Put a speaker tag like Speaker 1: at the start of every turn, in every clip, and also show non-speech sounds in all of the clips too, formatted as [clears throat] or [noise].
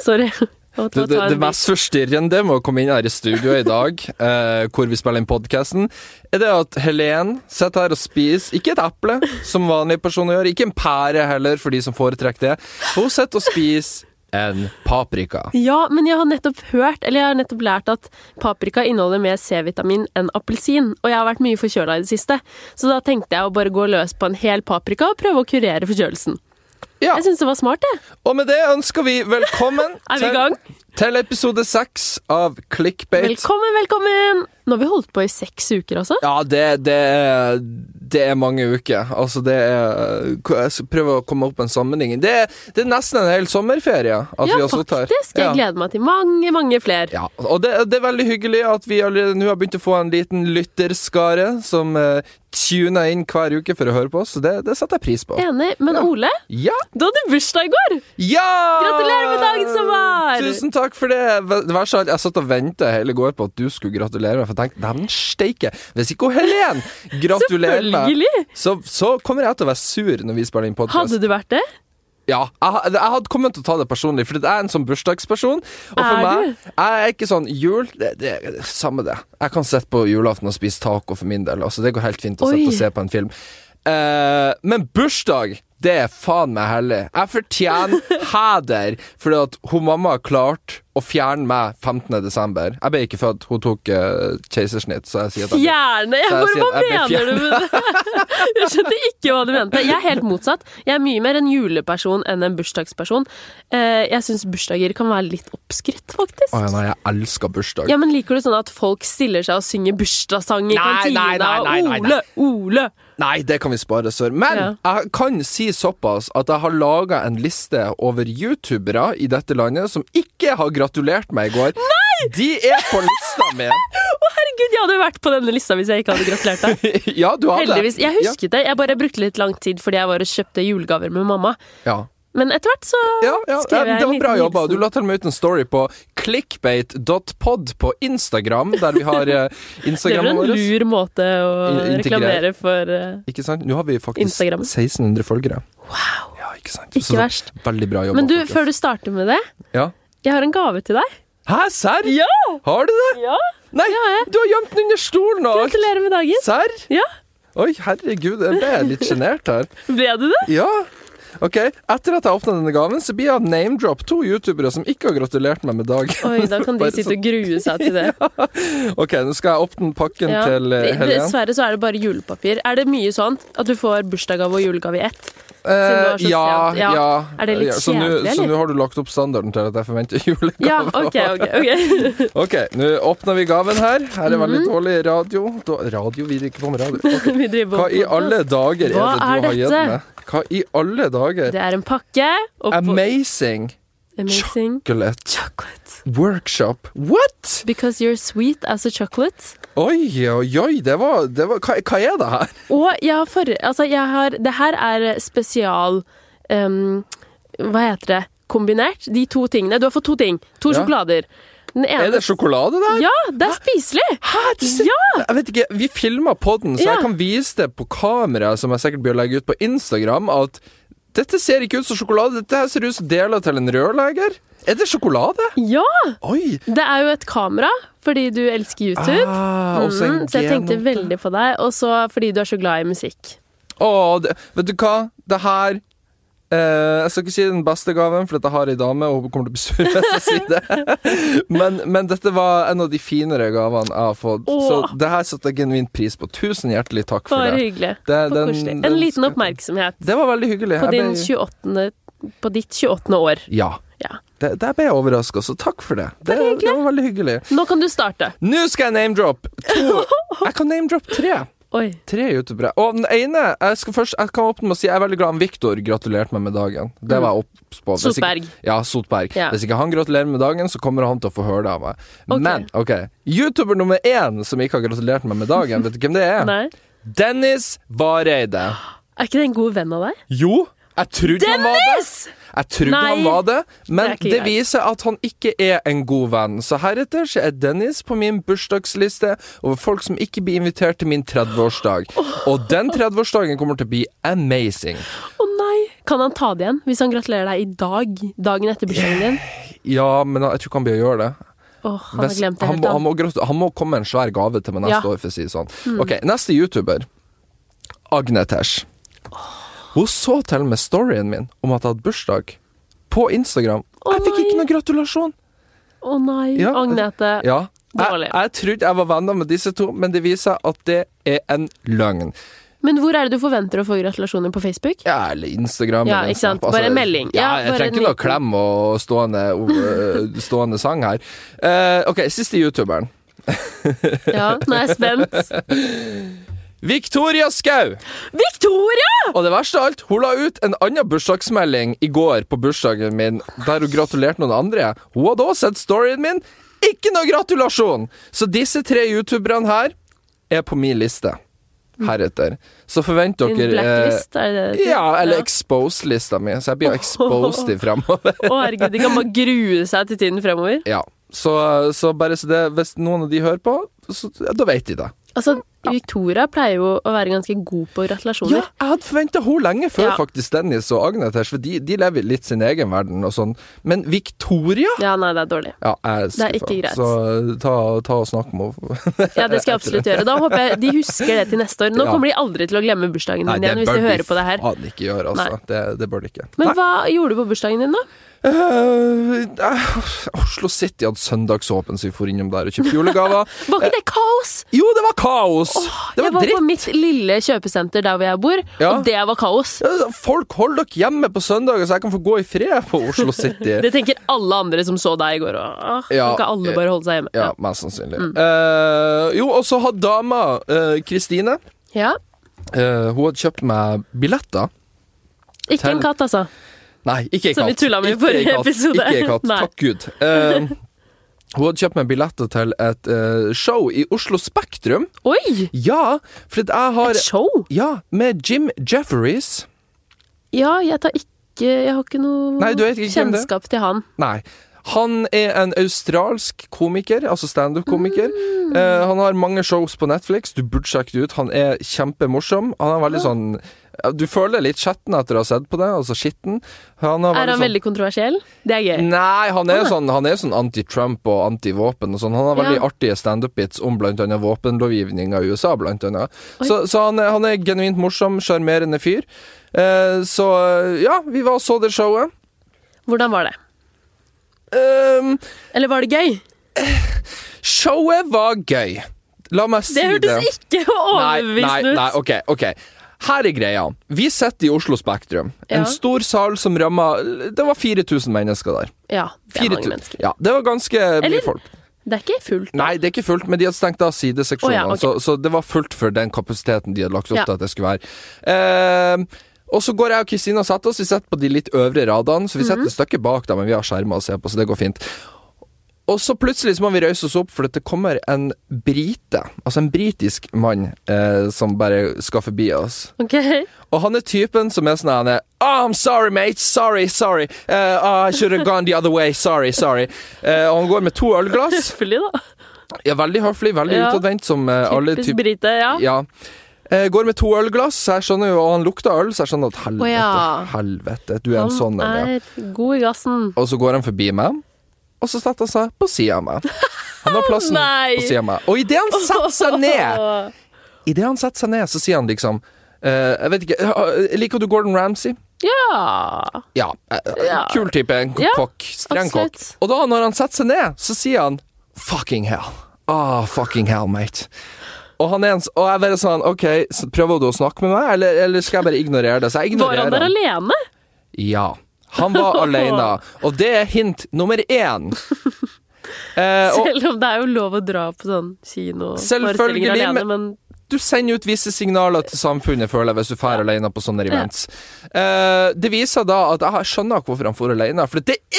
Speaker 1: Sorry. [laughs] å ta-
Speaker 2: Det, det,
Speaker 1: ta en
Speaker 2: det mest forstyrrende med å komme inn her i studio i dag, [laughs] eh, hvor vi spiller inn podkasten, er det at Helen sitter her og spiser ikke et eple, som vanlige personer gjør, ikke en pære heller, for de som foretrekker det. Hun sitter og spiser en paprika.
Speaker 1: bit. Ja, men jeg har nettopp hørt, eller jeg har nettopp lært at paprika inneholder mer C-vitamin enn appelsin, og jeg har vært mye forkjøla i det siste, så da tenkte jeg å bare gå løs på en hel paprika og prøve å kurere forkjølelsen.
Speaker 2: Ja,
Speaker 1: Jeg syns det var smart, jeg.
Speaker 2: Og med det ønsker vi velkommen
Speaker 1: Er vi i gang?
Speaker 2: til, til episode seks av Clickbait.
Speaker 1: Velkommen, velkommen! Nå har vi holdt på i seks uker, altså.
Speaker 2: Ja, det, det, er, det er mange uker. Altså, det er Jeg skal prøve å komme opp med en sammenheng. Det, er- det er nesten en hel sommerferie at vi
Speaker 1: ja,
Speaker 2: har sittet her.
Speaker 1: faktisk. Jeg gleder meg til mange, mange flere.
Speaker 2: Ja, og det, det er veldig hyggelig at vi allerede nå har begynt å få en liten lytterskare som eh, tuner inn hver uke for å høre på oss, så det, det setter jeg pris på.
Speaker 1: Enig. Men
Speaker 2: Ja.
Speaker 1: Ole,
Speaker 2: Ja!
Speaker 1: du hadde bursdag i går!
Speaker 2: ja!
Speaker 1: Gratulerer med dagen som var!
Speaker 2: Tusen takk for det. Det verste av alt, jeg satt og ventet hele går på at du skulle gratulere meg, for jeg tenkte dæven steike, hvis ikke hun
Speaker 1: [laughs]
Speaker 2: Helen gratulerer meg,
Speaker 1: Selvfølgelig!
Speaker 2: så, så kommer jeg til å være sur når vi spiller inn podkast.
Speaker 1: Hadde du vært det?
Speaker 2: Ja, jeg, ha- jeg hadde kommet til å ta det personlig, for jeg er en sånn bursdagsperson. Og for
Speaker 1: Er
Speaker 2: meg, jeg er ikke sånn jul det, det, det, Samme det. Jeg kan sitte på julaften og spise taco for min del. Altså, det går helt fint å
Speaker 1: Oi.
Speaker 2: sitte og se på en film. Eh, men bursdag, det er faen meg hellig. Jeg fortjener heder fordi at hun mamma klarte å fjerne meg 15. desember. Jeg ble ikke født, hun tok eh, keisersnitt, så jeg sier at jeg ble-
Speaker 1: Fjerne! Jeg
Speaker 2: Så jeg
Speaker 1: bare,
Speaker 2: sier
Speaker 1: hva
Speaker 2: at jeg ble
Speaker 1: mener du med det? [laughs] Jeg skjønte ikke hva du mente. Jeg er helt motsatt. Jeg er mye mer en juleperson enn en bursdagsperson. Eh, Jeg syns bursdager kan være litt oppskrytt, faktisk.
Speaker 2: Å, ja, nei, jeg elsker bursdag.
Speaker 1: Ja, men Liker du sånn at folk stiller seg og synger bursdagssang i
Speaker 2: Nei,
Speaker 1: kantina?
Speaker 2: nei, nei, nei, nei, nei.
Speaker 1: Ole, Ole!
Speaker 2: Nei, det kan vi spare for. Men
Speaker 1: Ja.
Speaker 2: jeg kan si såpass at jeg har laga en liste over youtubere i dette landet som ikke har gratulert meg i går. Nei! De er på lista
Speaker 1: [laughs]
Speaker 2: mi.
Speaker 1: Å, herregud, jeg hadde jo vært på denne lista hvis jeg ikke hadde gratulert deg.
Speaker 2: [laughs] ja, du har det.
Speaker 1: Heldigvis. Jeg husket det. Jeg bare brukte litt lang tid fordi jeg var og kjøpte julegaver med mamma.
Speaker 2: Ja.
Speaker 1: Men etter hvert så
Speaker 2: Ja, ja, ja,
Speaker 1: skrev jeg
Speaker 2: det
Speaker 1: en
Speaker 2: var bra
Speaker 1: liten
Speaker 2: jobba. Du
Speaker 1: hilsen.
Speaker 2: la til og med ut en story på clickbait.pod på Instagram, der vi
Speaker 1: [laughs] Det
Speaker 2: har eh,
Speaker 1: er vel
Speaker 2: Instagramen
Speaker 1: en
Speaker 2: vår.
Speaker 1: lur måte å
Speaker 2: In-
Speaker 1: reklamere
Speaker 2: integrere.
Speaker 1: for eh,
Speaker 2: Ikke sant? Nå har vi faktisk
Speaker 1: Instagram.
Speaker 2: 1600 følgere.
Speaker 1: Wow.
Speaker 2: Ja, ikke sant?
Speaker 1: Ikke verst.
Speaker 2: Veldig bra jobba.
Speaker 1: Men du,
Speaker 2: folkens.
Speaker 1: før du starter med det,
Speaker 2: ja.
Speaker 1: jeg har en gave til deg.
Speaker 2: Hæ, serr?
Speaker 1: Ja!
Speaker 2: Har du det?
Speaker 1: ja.
Speaker 2: Nei, du har gjemt den under stolen og alt.
Speaker 1: Gratulerer med dagen.
Speaker 2: Serr?
Speaker 1: Ja,
Speaker 2: Oi, herregud, jeg ble litt sjenert her.
Speaker 1: Ble du det?
Speaker 2: Ja. Ok, Etter at jeg åpna denne gaven, så blir jeg name-drop to youtubere som ikke har gratulert meg med dag. [laughs]
Speaker 1: Oi, da kan de
Speaker 2: Bare
Speaker 1: sitte og grue seg
Speaker 2: [laughs]
Speaker 1: til det.
Speaker 2: Ok, nå skal jeg åpne pakken
Speaker 1: Ja.
Speaker 2: til eh, Helen.
Speaker 1: Dessverre så er det bare julepapir. Er det mye sånn at du får bursdagsgave og julegave i ett? det var så
Speaker 2: Eh, ja,
Speaker 1: sent.
Speaker 2: ja,
Speaker 1: Ja. Er det litt
Speaker 2: ja, så nå-
Speaker 1: kjedelig, eller?
Speaker 2: Så nå har du lagt opp standarden til at jeg forventer [laughs] julegave.
Speaker 1: Ja, OK, OK. [laughs] ok.
Speaker 2: Ok, nå åpner vi gaven her. Her
Speaker 1: Mhm.
Speaker 2: er veldig dårlig radio. Da, radio, vi driver ikke på med radio. Ok.
Speaker 1: Vi driver
Speaker 2: Hva
Speaker 1: og-
Speaker 2: i alle dager er
Speaker 1: Hva er
Speaker 2: det du har gitt
Speaker 1: dette?
Speaker 2: meg? Hva i alle dager?
Speaker 1: Det er en pakke. Og på
Speaker 2: Amazing
Speaker 1: amazing
Speaker 2: chocolate
Speaker 1: chocolate.
Speaker 2: workshop. What?!
Speaker 1: Because you're sweet as a chocolate.
Speaker 2: Oi, oi, oi, det var, det var hva, hva er det her?
Speaker 1: Og jeg har for... Altså, jeg har Det her er spesial em, Hva heter det? Kombinert. De to tingene. Du har fått to ting. To
Speaker 2: Ja.
Speaker 1: sjokolader. Den ene
Speaker 2: Er det sjokolade der?
Speaker 1: Ja, det er spiselig!
Speaker 2: Hæ, det ser- Jeg vet ikke, vi filma podden, så
Speaker 1: Ja.
Speaker 2: jeg kan vise det på kamera, som jeg sikkert blir å legge ut på Instagram, at dette ser ikke ut som sjokolade, dette her ser ut som deler til en rørlegger. Er det sjokolade?
Speaker 1: Ja!
Speaker 2: Oi!
Speaker 1: Det er jo et kamera, fordi du elsker YouTube.
Speaker 2: Ah, også en
Speaker 1: Mm, så jeg tenkte
Speaker 2: genom-
Speaker 1: veldig på deg, og så fordi du er så glad i musikk.
Speaker 2: Å, det, vet du hva? Det her eh, Jeg skal ikke si den beste gaven, for dette har ei dame, og hun kommer til å bli sur hvis jeg sier det. [laughs] Men, men dette var en av de finere gavene jeg har fått,
Speaker 1: Åh.
Speaker 2: så det her setter jeg genuint pris på. Tusen hjertelig takk for
Speaker 1: Bare
Speaker 2: det.
Speaker 1: hyggelig.
Speaker 2: det,
Speaker 1: Og koselig. En liten oppmerksomhet
Speaker 2: Det var veldig hyggelig.
Speaker 1: på,
Speaker 2: Jeg
Speaker 1: din 28.
Speaker 2: ble-
Speaker 1: på ditt 28. år.
Speaker 2: Ja.
Speaker 1: Ja.
Speaker 2: Det, der ble jeg overraska, så takk for det. Det,
Speaker 1: Bare hyggelig.
Speaker 2: det var veldig hyggelig.
Speaker 1: Nå kan du starte.
Speaker 2: Nå skal jeg name-drop
Speaker 1: [laughs]
Speaker 2: to. Jeg kan name-drop tre.
Speaker 1: Oi.
Speaker 2: Tre youtubere. Og den ene Jeg skal først Jeg kan åpne med å si jeg er veldig glad om Viktor gratulerte meg med dagen. Det var jeg obs på. Hvis
Speaker 1: Mm.
Speaker 2: ikke-
Speaker 1: Sotberg.
Speaker 2: Ja, Sotberg.
Speaker 1: Ja.
Speaker 2: Hvis ikke han gratulerer med dagen, så kommer han til å få høre det av meg.
Speaker 1: Ok.
Speaker 2: Men OK. Youtuber nummer én som ikke har gratulert meg med dagen, vet du hvem det er?
Speaker 1: Nei.
Speaker 2: Dennis
Speaker 1: [gasps]
Speaker 2: Vareide.
Speaker 1: Er ikke det en god venn av deg?
Speaker 2: Jo, jeg trodde han var det.
Speaker 1: Yes!
Speaker 2: Jeg trodde
Speaker 1: Nei,
Speaker 2: han var det, men
Speaker 1: det er
Speaker 2: det,
Speaker 1: ikke greit.
Speaker 2: viser at han ikke er en god venn. Så heretter så er Dennis på min bursdagsliste over folk som ikke blir invitert til min 30-årsdag. Og den 30-årsdagen kommer til å bli amazing.
Speaker 1: Å nei! Kan han ta det igjen hvis han gratulerer deg i dag? Dagen etter bursdagen din?
Speaker 2: Ja, men jeg tror ikke han blir å gjøre det.
Speaker 1: Åh, han har
Speaker 2: Hvis-
Speaker 1: glemt det
Speaker 2: han,
Speaker 1: helt.
Speaker 2: må- han,
Speaker 1: Han,
Speaker 2: må, grat- han må komme med en svær gave til meg neste
Speaker 1: Ja. Mm.
Speaker 2: år, for å si det sånn. Ok, neste YouTuber. Agnetesh. Hun så til og med storyen min om at jeg hadde bursdag, på Instagram.
Speaker 1: Å
Speaker 2: jeg fikk ikke
Speaker 1: nei.
Speaker 2: noen gratulasjon!
Speaker 1: Å nei,
Speaker 2: Ja.
Speaker 1: Agnete.
Speaker 2: Ja. Jeg,
Speaker 1: Dårlig.
Speaker 2: jeg trodde jeg var venner med disse to, men det viser seg at det er en løgn.
Speaker 1: Men hvor er det du forventer å få gratulasjoner på
Speaker 2: [laughs]
Speaker 1: Facebook?
Speaker 2: Ja, eller Instagram.
Speaker 1: Ja,
Speaker 2: eller
Speaker 1: ikke sant?
Speaker 2: Snap. altså.
Speaker 1: Bare en melding.
Speaker 2: Ja,
Speaker 1: Ja,
Speaker 2: jeg
Speaker 1: bare
Speaker 2: trenger
Speaker 1: en
Speaker 2: ikke noe
Speaker 1: liten-
Speaker 2: klem og stående, øh, stående sang her. Eh, ok, siste youtuberen.
Speaker 1: Ja, nå er jeg spent.
Speaker 2: Victoria Skau!
Speaker 1: Victoria!
Speaker 2: Og det verste av alt, hun la ut en annen bursdagsmelding i går på bursdagen min, der hun gratulerte noen andre. Hun hadde også sett storyen min. Ikke noe gratulasjon! Så disse tre youtuberne her er på min liste heretter. Så forvent
Speaker 1: Din
Speaker 2: dere eh,
Speaker 1: blacklist, er det det? heter?
Speaker 2: Ja, eller expose-lista mi. Så jeg blir jo
Speaker 1: [laughs]
Speaker 2: exposed i fremover.
Speaker 1: Å herregud, de kan bare grue seg til tiden fremover.
Speaker 2: Ja. Så, så bare så det, hvis noen av de hører på, så, ja, da vet de det.
Speaker 1: Altså, Victoria pleier jo å være ganske god på gratulasjoner.
Speaker 2: Ja, jeg hadde forventa henne lenge før
Speaker 1: Ja.
Speaker 2: faktisk Dennis og Agnetesh, for de, de lever litt sin egen verden og sånn. Men Victoria
Speaker 1: Ja, nei, det er dårlig.
Speaker 2: ja,
Speaker 1: Det
Speaker 2: jeg er
Speaker 1: er
Speaker 2: skuffa.
Speaker 1: ikke greit.
Speaker 2: Så ta, ta og snakk med henne. [laughs]
Speaker 1: Ja, det skal jeg absolutt gjøre. Da håper jeg de husker det til neste år. Nå
Speaker 2: Ja.
Speaker 1: kommer de aldri til å glemme bursdagen din igjen hvis
Speaker 2: bør
Speaker 1: de hører på det her.
Speaker 2: faen ikke gjøre, altså. Det, det bør de ikke.
Speaker 1: Men hva gjorde du på bursdagen din, da?
Speaker 2: Eh, eh, Oslo City hadde søndagsåpen, så vi for innom der og kjøpte
Speaker 1: [laughs]
Speaker 2: julegaver.
Speaker 1: Var ikke det kaos?
Speaker 2: jo, det var kaos! Eh, det
Speaker 1: jeg
Speaker 2: var
Speaker 1: var
Speaker 2: dritt.
Speaker 1: på mitt lille kjøpesenter der hvor jeg bor,
Speaker 2: Ja.
Speaker 1: og det var kaos.
Speaker 2: Ja, altså, Folk, hold dere hjemme på søndager, så jeg kan få gå i fred på Oslo City.
Speaker 1: [laughs] Det tenker alle andre som så deg i går. Og, ah,
Speaker 2: Ja. eh,
Speaker 1: Kan ikke alle bare holde seg hjemme?
Speaker 2: Ja, mest sannsynlig.
Speaker 1: Mm.
Speaker 2: Eh, jo, og så hadde dama, eh, Kristine
Speaker 1: Ja.
Speaker 2: eh, Hun hadde kjøpt meg billetter.
Speaker 1: Ikke en katt, altså.
Speaker 2: Nei, ikke ei katt.
Speaker 1: Som vi tullet med i
Speaker 2: Ikke ei
Speaker 1: forrige
Speaker 2: katt.
Speaker 1: episode.
Speaker 2: Ikke ei katt,
Speaker 1: Nei.
Speaker 2: takk Gud. Eh, hun hadde kjøpt meg billetter til et eh, show i Oslo Spektrum.
Speaker 1: Oi!
Speaker 2: Ja, for at jeg har
Speaker 1: Et show?
Speaker 2: Ja, med Jim Jefferies.
Speaker 1: Ja, jeg tar ikke Jeg har ikke noe
Speaker 2: Nei, du vet ikke hvem det er.
Speaker 1: kjennskap til han.
Speaker 2: Nei. Han er en australsk komiker, altså standup-komiker. Eh, han har mange shows på Netflix, du burde sjekke det ut. Han er kjempemorsom. Han er veldig sånn ja, Du føler deg litt skitten etter å ha sett på det, altså skitten. Han er,
Speaker 1: Er han
Speaker 2: sånn,
Speaker 1: veldig Ah. kontroversiell? Det er gøy.
Speaker 2: Nei, han er sånn, han er sånn anti-Trump og anti-våpen og sånn. Han har veldig
Speaker 1: Ja.
Speaker 2: artige standup-bits om blant annet våpenlovgivninga i USA, blant annet. Så, så han, er, han er genuint morsom, sjarmerende fyr. Eh, så ja, vi var og så det showet.
Speaker 1: Hvordan var det?
Speaker 2: Um,
Speaker 1: Eller var det gøy?
Speaker 2: Showet var gøy. La meg si
Speaker 1: Det
Speaker 2: det.
Speaker 1: hørtes ikke
Speaker 2: nei,
Speaker 1: overbevisende
Speaker 2: nei,
Speaker 1: ut.
Speaker 2: ok, ok. Her er greia. Vi sitter i Oslo Spektrum.
Speaker 1: Ja.
Speaker 2: En stor sal som ramma Det var 4000 mennesker der.
Speaker 1: Ja, det er
Speaker 2: 4000.
Speaker 1: mange mennesker.
Speaker 2: Ja, det var ganske
Speaker 1: Eller-
Speaker 2: mye folk.
Speaker 1: Det er ikke fullt.
Speaker 2: Nei, det er ikke fullt, men de hadde stengt av
Speaker 1: Å
Speaker 2: sideseksjonene,
Speaker 1: ja, ok.
Speaker 2: så, så det var fullt for den kapasiteten de hadde lagt opp
Speaker 1: Ja.
Speaker 2: til at det skulle være. Ehm, og så går jeg og Kristina og setter oss, vi setter på de litt øvre radene, så vi
Speaker 1: Mhm.
Speaker 2: setter et stykke bak da, men vi har skjermer å se på, så det går fint. Og så plutselig så må vi røyse oss opp, for at det kommer en brite, altså en britisk mann, eh, som bare skal forbi oss.
Speaker 1: Ok.
Speaker 2: Og han er typen som er sånn han er oh, I'm sorry, mate. Sorry, sorry. Eh, ah, I should have gone the other way. Sorry, sorry. Eh, og han går med to ølglass.
Speaker 1: Selvfølgelig, da.
Speaker 2: Ja, veldig høflig, veldig
Speaker 1: Ja.
Speaker 2: utadvendt, som eh, alle
Speaker 1: Typisk
Speaker 2: typer
Speaker 1: brite, ja.
Speaker 2: Ja. Eh, går med to ølglass, så jeg skjønner jo, og han lukter øl, så jeg skjønner at helvete,
Speaker 1: Å ja.
Speaker 2: helvete, du er en sånn
Speaker 1: Han
Speaker 2: en, ja.
Speaker 1: er god i gassen.
Speaker 2: Og så går han forbi meg, og så setter han seg på sida av meg. Han har
Speaker 1: [laughs]
Speaker 2: plassen
Speaker 1: Nei.
Speaker 2: på sida av meg. Og idet han setter
Speaker 1: [laughs]
Speaker 2: seg ned, i det han setter seg ned, så sier han liksom eh, Jeg vet ikke, eh, liker du Gordon Ramsay?
Speaker 1: Ja.
Speaker 2: Ja. eh,
Speaker 1: Ja.
Speaker 2: Kul type, en
Speaker 1: Ja,
Speaker 2: kokk, streng kokk.
Speaker 1: absolutt.
Speaker 2: Og da, når han setter seg ned, så sier han fucking hell. Ah, fucking hell, mate. Og, han er en, s- og jeg bare sånn, ok, så prøver du å snakke med meg, eller, eller skal jeg bare ignorere det? Så jeg
Speaker 1: Var
Speaker 2: ignorerer
Speaker 1: han der
Speaker 2: han.
Speaker 1: alene?
Speaker 2: Ja. Han var alene,
Speaker 1: [laughs]
Speaker 2: og det er hint nummer én. Eh, og
Speaker 1: Selv om det er jo lov å dra på sånn kinoforestillinger
Speaker 2: Selvfølgelig,
Speaker 1: alene,
Speaker 2: men-
Speaker 1: men
Speaker 2: du sender ut visse signaler til samfunnet, føler jeg, hvis du drar alene på sånne events. Eh, det viser da at jeg skjønner ikke hvorfor han drar alene, for det er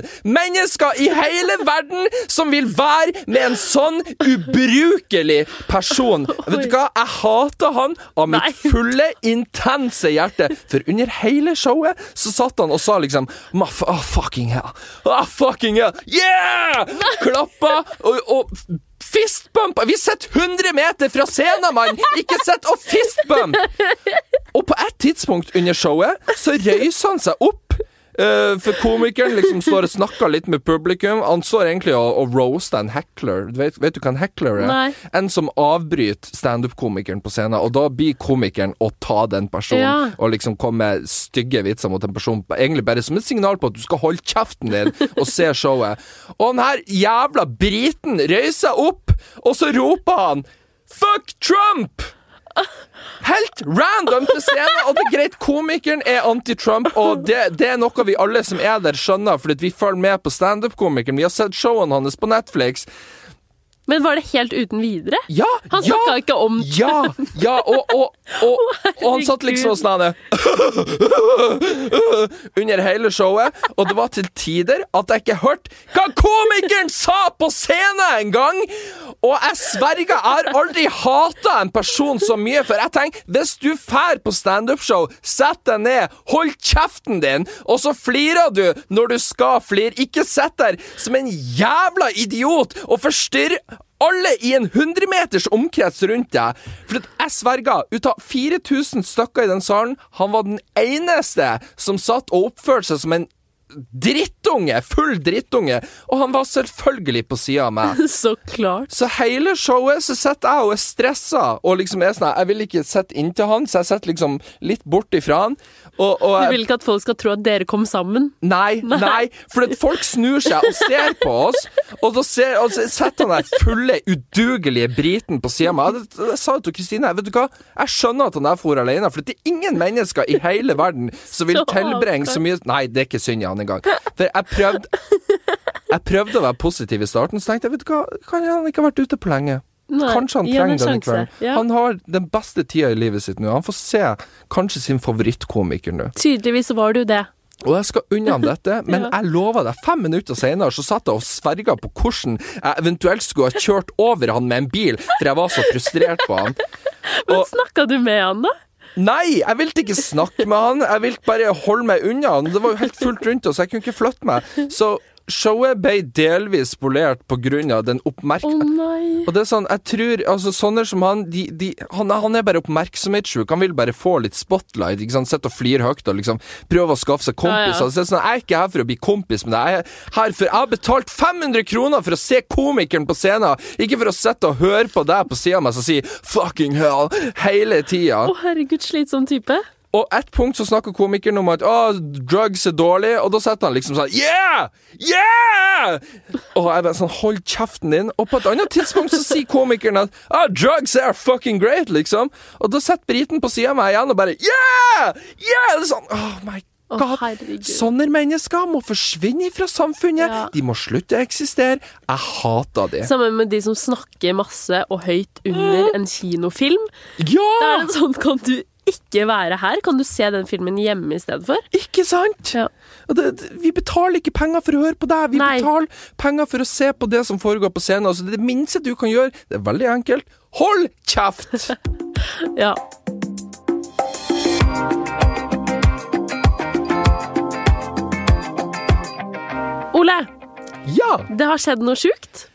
Speaker 2: ingen mennesker i hele verden som vil være med en sånn ubrukelig person. Vet du hva, jeg hater han av mitt
Speaker 1: Nei.
Speaker 2: fulle, intense hjerte, for under hele showet så satt han og sa liksom "Ma- f- ah, fucking hell. Ah, fucking hell. Yeah! Klappa og, og Fistbumpa! Vi sitter 100 meter fra scenen, mann! Ikke sitt og fistbump! Og på et tidspunkt under showet så røyser han seg opp. Eh, for komikeren liksom står og snakker litt med publikum. Han står egentlig og, og roaster en heckler. Du vet, vet du hva en heckler er?
Speaker 1: Nei.
Speaker 2: En som avbryter standup-komikeren på scenen, og da blir komikeren å ta den personen
Speaker 1: Ja.
Speaker 2: og liksom komme med stygge vitser mot en person, egentlig bare som et signal på at du skal holde kjeften din og se showet. Og den her jævla briten reiser seg opp, og så roper han Fuck Trump! Helt random til scenen, og det er greit, komikeren er anti-Trump, og det, det er noe vi alle som er der skjønner, fordi at vi følger med på standup-komikeren, vi har sett showene hans på Netflix.
Speaker 1: Men var det helt uten videre?
Speaker 2: Ja,
Speaker 1: Han
Speaker 2: ja,
Speaker 1: snakka ikke om
Speaker 2: ja, ja, og, og, og, og han satt liksom sånn her Under hele showet, og det var til tider at jeg ikke hørte hva komikeren sa på scenen engang! Og jeg sverger, jeg har aldri hata en person så mye, for jeg tenker hvis du fær på standup-show, sett deg ned, hold kjeften din, og så flirer du når du skal flire. Ikke sitt der som en jævla idiot og forstyrr alle i en 100 meters omkrets rundt deg. For at jeg sverger, ut av 4000 stykker i den salen, han var den eneste som satt og oppførte seg som en drittunge, full drittunge, og han var selvfølgelig på sida av meg.
Speaker 1: [laughs] Så klart.
Speaker 2: Så hele showet så sitter jeg og er stressa, og liksom er sånn her, Jeg vil ikke sitte inntil han, så jeg sitter liksom litt bort ifra han. Og, og
Speaker 1: Du
Speaker 2: jeg-
Speaker 1: vil ikke at folk skal tro at dere kom sammen?
Speaker 2: Nei, nei, for at folk snur seg og ser på oss, og så ser, og så setter han der fulle, udugelige briten på sida av meg. Jeg, jeg sa jo til Kristine vet du hva, jeg skjønner at han der for alene, for det er ingen mennesker i hele verden som vil
Speaker 1: Så
Speaker 2: tilbringe så mye Nei, det er ikke synd i han engang. For jeg prøvde jeg prøvde å være positiv i starten, så tenkte jeg vet du hva, kanskje han ikke har vært ute på lenge.
Speaker 1: Nei,
Speaker 2: kanskje han
Speaker 1: gi han en
Speaker 2: trenger denne
Speaker 1: sjanse,
Speaker 2: kvelden.
Speaker 1: ja.
Speaker 2: Han har den beste tida i livet sitt nå. Han får se kanskje sin favorittkomiker nå.
Speaker 1: Tydeligvis var du det.
Speaker 2: Og jeg skal unna ham dette, men
Speaker 1: Ja.
Speaker 2: jeg lover deg, fem minutter senere så satt jeg og sverga på hvordan jeg eventuelt skulle ha kjørt over han med en bil, for jeg var så frustrert på han.
Speaker 1: Men
Speaker 2: Og-
Speaker 1: snakka du med han, da?
Speaker 2: Nei, jeg ville ikke snakke med han, jeg ville bare holde meg unna han. Det var jo helt fullt rundt oss, jeg kunne ikke flytte meg. Så showet ble delvis spolert på grunn av den
Speaker 1: Å
Speaker 2: oppmerksomheten
Speaker 1: nei.
Speaker 2: og det er sånn, jeg tror, altså Sånne som han de, de, han, han er bare oppmerksomhetssjuk. Han vil bare få litt spotlight. ikke sant? Sitte og flire høyt og liksom prøve å skaffe seg kompiser.
Speaker 1: Ja, ja.
Speaker 2: Så det er sånn, Jeg er ikke her for å bli kompis med deg. Jeg er her for, jeg har betalt 500 kroner for å se komikeren på scenen, ikke for å sitte og høre på deg på sida av meg som sier 'fucking hell' hele tida.
Speaker 1: Å herregud, slitsom type.
Speaker 2: Og ett punkt så snakker komikeren om at «Åh, drugs er dårlig, og da setter han liksom sånn Yeah! Yeah! Og jeg bare sånn Hold kjeften din. Og på et annet tidspunkt så sier komikeren at «Åh, drugs are fucking great, liksom. Og da setter briten på sida av meg igjen og bare Yeah! Yeah! Det er sånn Oh my
Speaker 1: Å
Speaker 2: god.
Speaker 1: herregud.
Speaker 2: Sånne mennesker må forsvinne fra samfunnet.
Speaker 1: Ja.
Speaker 2: De må slutte å eksistere. Jeg hater det.
Speaker 1: Sammen med de som snakker masse og høyt under en kinofilm. Da
Speaker 2: Ja!
Speaker 1: er det sånn, kan du ikke være her? Kan du se den filmen hjemme i stedet for?
Speaker 2: Ikke sant?
Speaker 1: Ja.
Speaker 2: Og det, det- vi betaler ikke penger for å høre på deg, vi
Speaker 1: Nei.
Speaker 2: betaler penger for å se på det som foregår på scenen. Altså, det minste du kan gjøre, det er veldig enkelt. Hold
Speaker 1: [laughs]
Speaker 2: kjeft!
Speaker 1: Ja. Ole,
Speaker 2: ja!
Speaker 1: det har skjedd noe sjukt.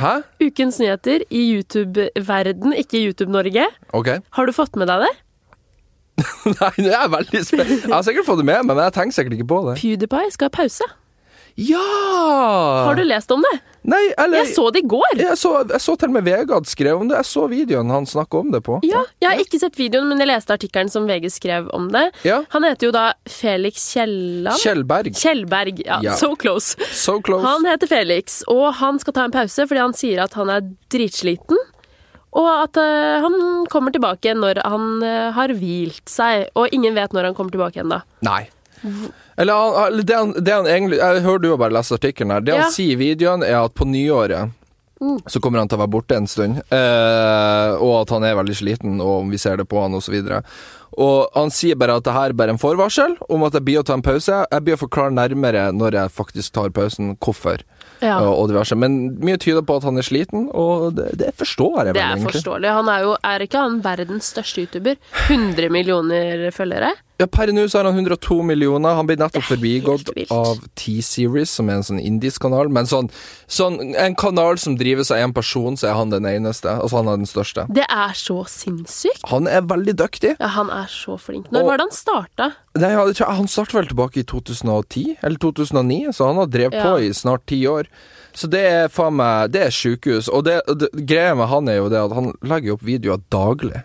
Speaker 2: Hæ?
Speaker 1: Ukens nyheter i YouTube-verden, ikke i YouTube-Norge.
Speaker 2: Ok. [laughs]
Speaker 1: Har du fått med deg det?
Speaker 2: Nei, nå er jeg veldig spent. Jeg har sikkert fått det med meg, men jeg tenker sikkert ikke på det.
Speaker 1: PewDiePie skal ha pause.
Speaker 2: Ja!
Speaker 1: Har du lest om det?
Speaker 2: Nei, eller
Speaker 1: Jeg så det i går.
Speaker 2: jeg så, jeg så til og med Vegard skrev om det. Jeg så videoen han snakka om det på.
Speaker 1: Ja, jeg har ikke sett videoen, men jeg leste artikkelen som VG skrev om det.
Speaker 2: Ja.
Speaker 1: Han heter jo da Felix Kielland.
Speaker 2: Kjell Berg.
Speaker 1: Kjellberg. Ja,
Speaker 2: Ja.
Speaker 1: so close.
Speaker 2: So close.
Speaker 1: Han heter Felix, og han skal ta en pause fordi han sier at han er dritsliten. Og at eh, han kommer tilbake når han eh, har hvilt seg. Og ingen vet når han kommer tilbake igjen, da.
Speaker 2: Nei. Eller, han- eller det, han, det han egentlig Jeg hører du har bare lest artikkelen her. Det
Speaker 1: Ja. Mm.
Speaker 2: han sier i videoen, er at på nyåret så kommer han til å være borte en stund. Eh, og at han er veldig sliten, og om vi ser det på han, osv. Og han sier bare at det her er bare en forvarsel om at jeg blir å ta en pause. Jeg blir å forklare nærmere når jeg faktisk tar pausen, hvorfor.
Speaker 1: Ja.
Speaker 2: Og, og diverse. Men mye tyder på at han er sliten, og det, det forstår jeg
Speaker 1: Det
Speaker 2: vel
Speaker 1: er
Speaker 2: egentlig.
Speaker 1: forståelig. Han er jo er ikke han verdens største YouTuber? 100 millioner følgere?
Speaker 2: Ja, per nå så har han 102 millioner. Han ble nettopp
Speaker 1: Det er helt
Speaker 2: forbigått
Speaker 1: vilt.
Speaker 2: av T-Series, som er en sånn indisk kanal. Men sånn, sånn en kanal som drives av én person, så er han den eneste. Altså han er den største.
Speaker 1: Det er så sinnssykt.
Speaker 2: Han er veldig dyktig.
Speaker 1: Ja, han er så flink. Når
Speaker 2: Og-
Speaker 1: var det han starta?
Speaker 2: Nei, jeg tror, han startet vel tilbake i 2010, eller 2009, så han har drevet
Speaker 1: Ja.
Speaker 2: på i snart ti år. Så det er faen meg Det er sjukehus. Og det, og det, greia med han er jo det at han legger opp videoer daglig.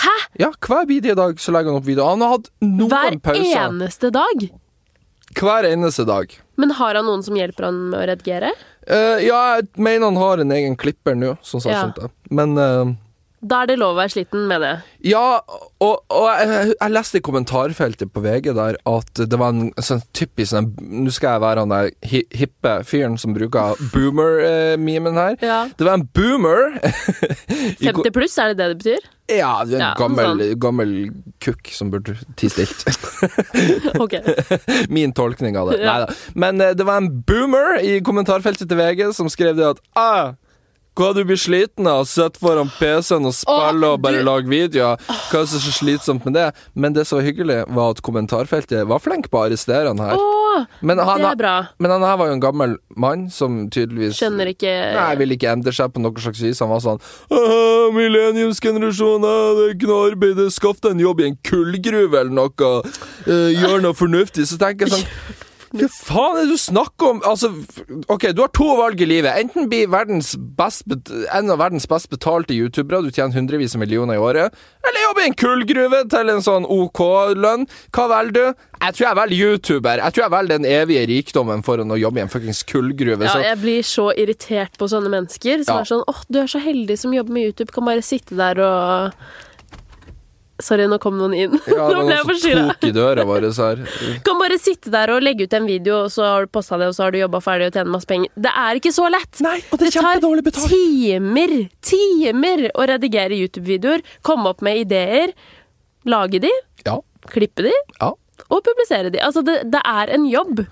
Speaker 1: Hæ?
Speaker 2: Ja, hver bidige dag så legger han opp video. Han har hatt noen
Speaker 1: Hver
Speaker 2: pauser
Speaker 1: eneste dag?
Speaker 2: hver eneste dag.
Speaker 1: Men har han noen som hjelper han med å redigere?
Speaker 2: Eh, ja, jeg mener han har en egen klipper nå, sånn som jeg
Speaker 1: Ja.
Speaker 2: skjønte. Men eh,
Speaker 1: Da er det lov å være sliten, mener jeg.
Speaker 2: Ja, og, og jeg, jeg leste i kommentarfeltet på VG der at det var en sånn typisk sånn Nå skal jeg være han der hi, hippe fyren som
Speaker 1: [laughs]
Speaker 2: bruker boomer-memen her.
Speaker 1: Ja.
Speaker 2: Det var en boomer [laughs] I ko-
Speaker 1: 50 pluss, er det det det betyr? [laughs]
Speaker 2: Ja, det er en
Speaker 1: Ja, sånn.
Speaker 2: gammel, gammel kukk som burde tie stilt.
Speaker 1: Ok.
Speaker 2: [laughs] Min tolkning av det.
Speaker 1: Ja.
Speaker 2: Neida. Men eh, det var en boomer i kommentarfeltet til VG som skrev det at ah, hva du blir sliten av, sitte foran PC-en og spille
Speaker 1: Å,
Speaker 2: og bare
Speaker 1: du-
Speaker 2: lage videoer. Hva er det som er så slitsomt med det? Men det som var hyggelig, var at kommentarfeltet var flink på å arrestere han her.
Speaker 1: Åh,
Speaker 2: Men han,
Speaker 1: det er bra.
Speaker 2: men han her var jo en gammel mann som tydeligvis
Speaker 1: Skjønner ikke
Speaker 2: Nei, ville ikke endre seg på noe slags vis. Han var sånn «Haha, Millenniumsgenerasjonen, eh, det er ikke noe arbeid, det er skaff deg en jobb i en kullgruve eller noe. eh, gjør noe fornuftig. Så tenker jeg sånn hva faen er det du snakker om? Altså, f- ok, Du har to valg i livet. Enten bli verdens best bet en av verdens best betalte youtubere, du tjener hundrevis av millioner i året, eller jobbe i en kullgruve til en sånn OK-lønn. Hva velger du? Jeg tror jeg velger youtuber. Jeg tror jeg velger den evige rikdommen foran å jobbe i en fuckings kullgruve.
Speaker 1: Ja,
Speaker 2: så-
Speaker 1: jeg blir så irritert på sånne mennesker som
Speaker 2: Ja.
Speaker 1: er sånn åh, du er så heldig som jobber med YouTube, kan bare sitte der og Sorry, nå kom noen inn.
Speaker 2: Ja,
Speaker 1: [laughs] nå ble jeg
Speaker 2: altså, det var noen som
Speaker 1: forstyrra.
Speaker 2: tok i døra vår her.
Speaker 1: Kan bare sitte der og legge ut en video, og så har du posta det, og så har du jobba ferdig og tjener masse penger. Det er ikke så lett!
Speaker 2: Nei, og det er kjempedårlig betalt.
Speaker 1: timer, timer å redigere YouTube-videoer, komme opp med ideer, lage de,
Speaker 2: Ja,
Speaker 1: klippe de
Speaker 2: ja.
Speaker 1: og publisere de. Altså, det, det er en jobb.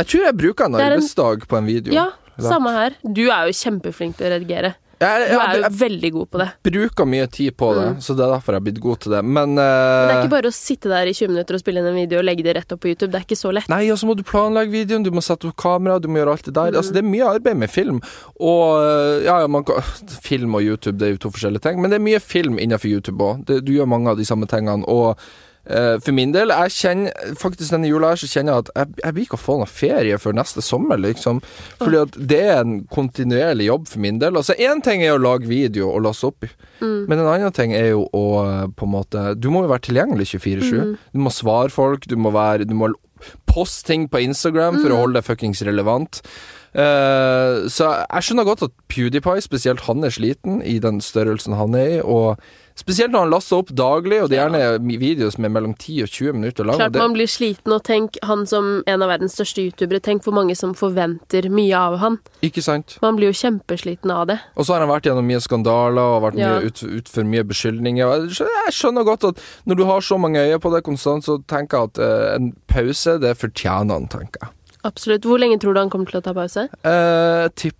Speaker 2: Jeg tror jeg bruker en
Speaker 1: er en-
Speaker 2: arbeidsdag på en video.
Speaker 1: Ja, samme her. Du er jo kjempeflink til å redigere.
Speaker 2: Jeg,
Speaker 1: Du
Speaker 2: jeg,
Speaker 1: er
Speaker 2: jeg,
Speaker 1: jo veldig god på det.
Speaker 2: bruker mye tid på det, så det er derfor jeg har blitt god til det. Men, eh,
Speaker 1: Mm. Det er ikke bare å sitte der i 20 minutter og spille inn en video og legge det rett opp på YouTube. Det er ikke så lett.
Speaker 2: Nei, og så må du planlegge videoen, du må sette opp kamera, du må gjøre alt det der. Altså, det er mye arbeid med film. Og eh, ja, ja, man kan Film og YouTube, det er jo to forskjellige ting, men det er mye film innenfor YouTube òg. Du gjør mange av de samme tingene. Og eh, for min del, jeg kjenner faktisk denne jula her, så kjenner jeg at jeg, jeg blir ikke å få noe ferie før neste sommer, liksom. Fordi at det er en kontinuerlig jobb for min del. Altså, én ting er å lage video og laste opp, men en annen ting er jo å eh, på en måte Du må jo være tilgjengelig 24-7. Du må svare folk, du må være Du må poste ting på Instagram
Speaker 1: Mm.
Speaker 2: for å holde det fuckings relevant. Eh, så jeg skjønner godt at PewDiePie, spesielt han er sliten i den størrelsen han er i, og spesielt når han laster opp daglig, og det er gjerne videoer som er mellom 10 og 20 minutter lange.
Speaker 1: Klart
Speaker 2: Det,
Speaker 1: man blir sliten, og tenk han som en av verdens største youtubere, tenk hvor mange som forventer mye av han.
Speaker 2: ikke sant?
Speaker 1: Man blir jo kjempesliten av det.
Speaker 2: Og så har han vært gjennom mye skandaler og vært
Speaker 1: Ja.
Speaker 2: mye ut, ut for mye beskyldninger. og Jeg skjønner, jeg skjønner godt at når du har så mange øyne på deg konstant, så tenker jeg at eh, en pause, det fortjener han, tenker jeg.
Speaker 1: Absolutt. Hvor lenge tror du han kommer til å ta pause?
Speaker 2: Eh, tippa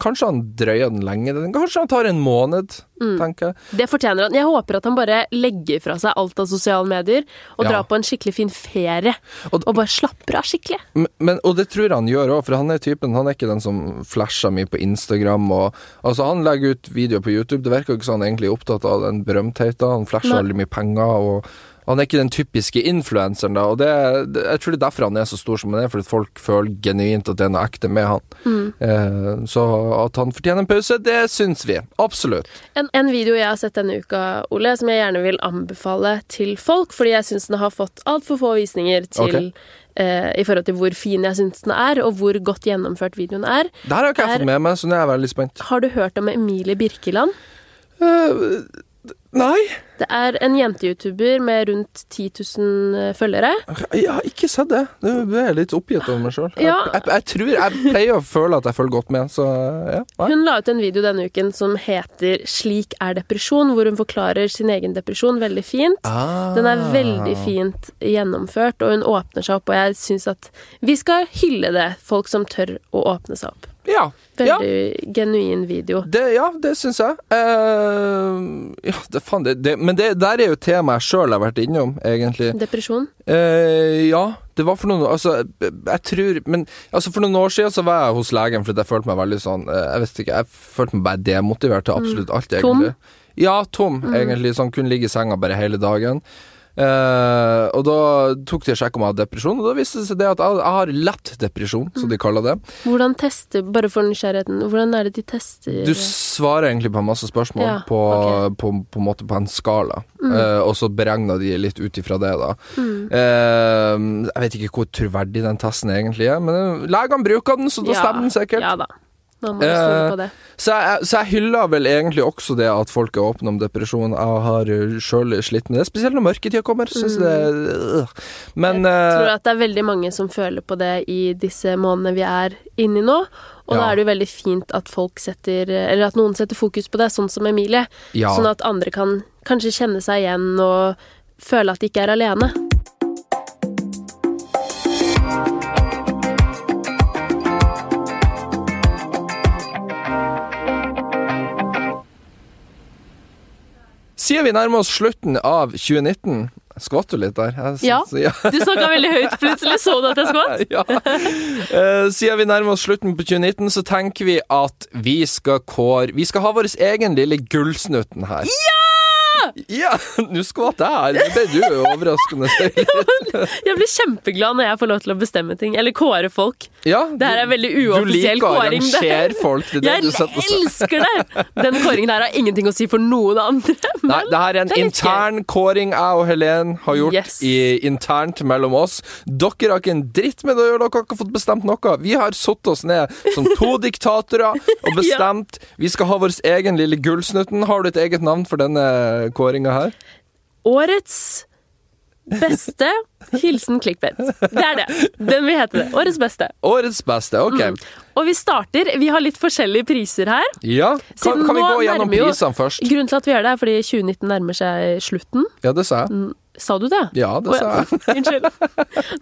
Speaker 2: Kanskje han drøyer den lenge. Den- Kanskje han tar en måned,
Speaker 1: Mm.
Speaker 2: tenker jeg.
Speaker 1: Det fortjener han. Jeg håper at han bare legger fra seg alt av sosiale medier og
Speaker 2: Ja.
Speaker 1: drar på en skikkelig fin ferie.
Speaker 2: Og-
Speaker 1: Og, bare slapper av skikkelig.
Speaker 2: M- Men, og det tror jeg han gjør òg, for han er typen Han er ikke den som flasher mye på Instagram. Og, altså Han legger ut videoer på YouTube. Det virker jo ikke som han egentlig er opptatt av den berømtheten. Han flasher
Speaker 1: Nei.
Speaker 2: veldig mye penger. Og han er ikke den typiske influenseren, da. Og det, det, jeg tror det er derfor han er så stor som han er, fordi folk føler genuint at det er noe ekte med han.
Speaker 1: Mm.
Speaker 2: Eh, så at han fortjener en pause, det syns vi. Absolutt.
Speaker 1: En, en video jeg har sett denne uka, Ole, som jeg gjerne vil anbefale til folk, fordi jeg syns den har fått altfor få visninger til
Speaker 2: Ok.
Speaker 1: eh, I forhold til hvor fin jeg syns den er, og hvor godt gjennomført videoen er.
Speaker 2: Det her har ikke jeg
Speaker 1: Er-
Speaker 2: fått med meg, så nå er jeg veldig spent.
Speaker 1: Har du hørt om Emilie Birkeland?
Speaker 2: Eh, nei.
Speaker 1: Det er en jente-youtuber med rundt 10 000 følgere.
Speaker 2: Jeg har ikke sett det. Nå ble jeg litt oppgitt over meg sjøl.
Speaker 1: Ja.
Speaker 2: Jeg, jeg, jeg tror Jeg pleier å føle at jeg følger godt med, så ja. Nei.
Speaker 1: Hun la ut en video denne uken som heter 'Slik er depresjon', hvor hun forklarer sin egen depresjon veldig fint. Den er
Speaker 2: Ah.
Speaker 1: veldig fint gjennomført, og hun åpner seg opp, og jeg syns at vi skal hylle det, folk som tør å åpne seg opp.
Speaker 2: Ja.
Speaker 1: Veldig genuin video.
Speaker 2: Det, ja, det syns jeg. Eh, ja, det, faen, det, det, men det der er jo temaet jeg sjøl har vært innom, egentlig.
Speaker 1: Depresjon.
Speaker 2: Eh, ja, det var for noen Altså, jeg tror Men altså, for noen år siden så var jeg hos legen fordi jeg følte meg veldig sånn eh, Jeg vet ikke, jeg følte meg bare demotivert til absolutt alt,
Speaker 1: Tom?
Speaker 2: egentlig. Ja, tom, egentlig. Sånn kunne ligge i senga bare hele dagen. Eh, og da tok de og sjekka om jeg hadde depresjon, og da viste det seg det at jeg, jeg har lett depresjon, som de kaller det.
Speaker 1: Hvordan tester Bare for nysgjerrigheten, hvordan er det de tester
Speaker 2: Du svarer egentlig på en masse spørsmål
Speaker 1: Ja,
Speaker 2: på,
Speaker 1: ok. Mm.
Speaker 2: på, på en måte på en skala, Eh, og så beregner de litt ut ifra det, da. Eh, jeg vet ikke hvor troverdig den testen egentlig er, men eh, legene bruker den, så da
Speaker 1: Ja,
Speaker 2: stemmer den sikkert.
Speaker 1: Ja da. Man må stole
Speaker 2: Eh,
Speaker 1: på det.
Speaker 2: Så, jeg, så jeg hyller vel egentlig også det at folk er åpne om depresjon. Jeg har sjøl slitt med det, spesielt når mørketida kommer. Synes det, øh. Men
Speaker 1: Mm. Jeg tror
Speaker 2: eh,
Speaker 1: at det er veldig mange som føler på det i disse månedene vi er inni nå. Og da
Speaker 2: Ja.
Speaker 1: er det jo veldig fint at folk setter Eller at noen setter fokus på det, sånn som Emilie.
Speaker 2: ja.
Speaker 1: Sånn at andre kan kanskje kjenne seg igjen og føle at de ikke er alene.
Speaker 2: Siden vi nærmer oss slutten av 2019 Jeg skvatt jo litt der. Jeg,
Speaker 1: Ja.
Speaker 2: synes- ja.
Speaker 1: Du snakka veldig høyt, plutselig så du at jeg skvatt.
Speaker 2: [laughs] ja. Eh, siden vi nærmer oss slutten på 2019, så tenker vi at vi skal kåre Vi skal ha vår egen lille gullsnutten her. Ja! Ja, [laughs] Nå skvatt jeg. Det ble du jo
Speaker 1: [laughs]
Speaker 2: overraskende stille.
Speaker 1: Jeg blir kjempeglad når jeg får lov til å bestemme ting, eller kåre folk.
Speaker 2: Ja,
Speaker 1: Det her er veldig uoffisiell
Speaker 2: Du liker å
Speaker 1: kåring, det.
Speaker 2: arrangere folk. Det er det
Speaker 1: Jeg
Speaker 2: du setter på
Speaker 1: elsker det! Den kåringen her har ingenting å si for noen andre. Men
Speaker 2: Nei, det her er en
Speaker 1: det er litt
Speaker 2: intern kåring jeg og Helen har gjort
Speaker 1: Yes.
Speaker 2: i, internt mellom oss. Dere har ikke en dritt med det å gjøre, dere har ikke fått bestemt noe. Vi har satt oss ned som
Speaker 1: [laughs]
Speaker 2: to diktatorer og bestemt. Vi skal ha vår egen lille gullsnutten. Har du et eget navn for denne kåringa her?
Speaker 1: Årets beste hilsen clickbait. Det er det. Den vil hete det. Årets beste.
Speaker 2: Årets beste, OK.
Speaker 1: Og vi starter Vi har litt forskjellige priser her.
Speaker 2: Ja, kan,
Speaker 1: Siden
Speaker 2: kan vi
Speaker 1: nå
Speaker 2: gå gjennom
Speaker 1: nærmer jo-
Speaker 2: prisene først?
Speaker 1: Grunnen til at vi gjør det, er fordi 2019 nærmer seg slutten.
Speaker 2: Ja, det sa
Speaker 1: Mm.
Speaker 2: jeg.
Speaker 1: Sa du det?
Speaker 2: Ja, det sa jeg.
Speaker 1: [laughs] Unnskyld.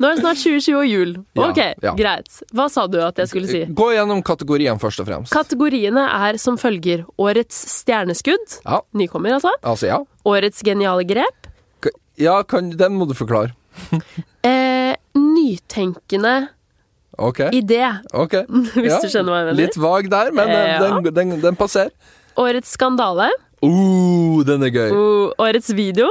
Speaker 1: Nå er det snart 2020 og jul.
Speaker 2: Altså. Ja,
Speaker 1: Ok,
Speaker 2: ja.
Speaker 1: greit. Hva sa du at jeg skulle si?
Speaker 2: Gå gjennom kategoriene først og fremst.
Speaker 1: Kategoriene er som følger Årets stjerneskudd,
Speaker 2: Ja,
Speaker 1: nykommer altså,
Speaker 2: altså, ja.
Speaker 1: Årets geniale grep,
Speaker 2: K- Ja, kan, den må du forklare.
Speaker 1: eh, nytenkende
Speaker 2: OK.
Speaker 1: idé,
Speaker 2: Ok.
Speaker 1: [laughs] hvis du skjønner hva jeg mener.
Speaker 2: Litt vag der, men eh,
Speaker 1: Ja.
Speaker 2: den, den, den passerer.
Speaker 1: Årets skandale,
Speaker 2: Uh, den er gøy.
Speaker 1: o- Årets video,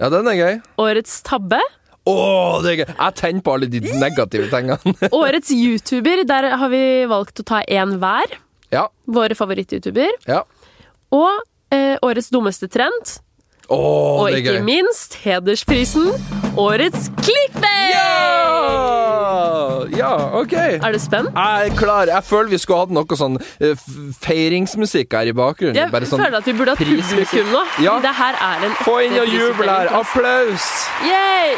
Speaker 2: Ja, den er gøy.
Speaker 1: Årets
Speaker 2: [laughs]
Speaker 1: tabbe,
Speaker 2: Å, det er gøy. Jeg tenner på alle de negative tingene. [laughs]
Speaker 1: Årets YouTuber, der har vi valgt å ta én hver,
Speaker 2: ja,
Speaker 1: våre favoritt-YouTuber,
Speaker 2: ja.
Speaker 1: og eh, Årets dummeste trend,
Speaker 2: Å,
Speaker 1: og
Speaker 2: det er
Speaker 1: ikke
Speaker 2: gøy.
Speaker 1: minst Hedersprisen, Årets clickbait!
Speaker 2: Ja! ja, ok.
Speaker 1: Er du spent?
Speaker 2: Jeg er klar. Jeg føler vi skulle hatt noe sånn eh, f- feiringsmusikk her i bakgrunnen.
Speaker 1: Jeg
Speaker 2: Bare sånn
Speaker 1: føler at vi burde hatt
Speaker 2: prismusikk.
Speaker 1: publikum nå.
Speaker 2: Ja.
Speaker 1: Det her er en
Speaker 2: Få inn
Speaker 1: ekte
Speaker 2: og jubel
Speaker 1: prisutdeling.
Speaker 2: her. Applaus!
Speaker 1: Yay!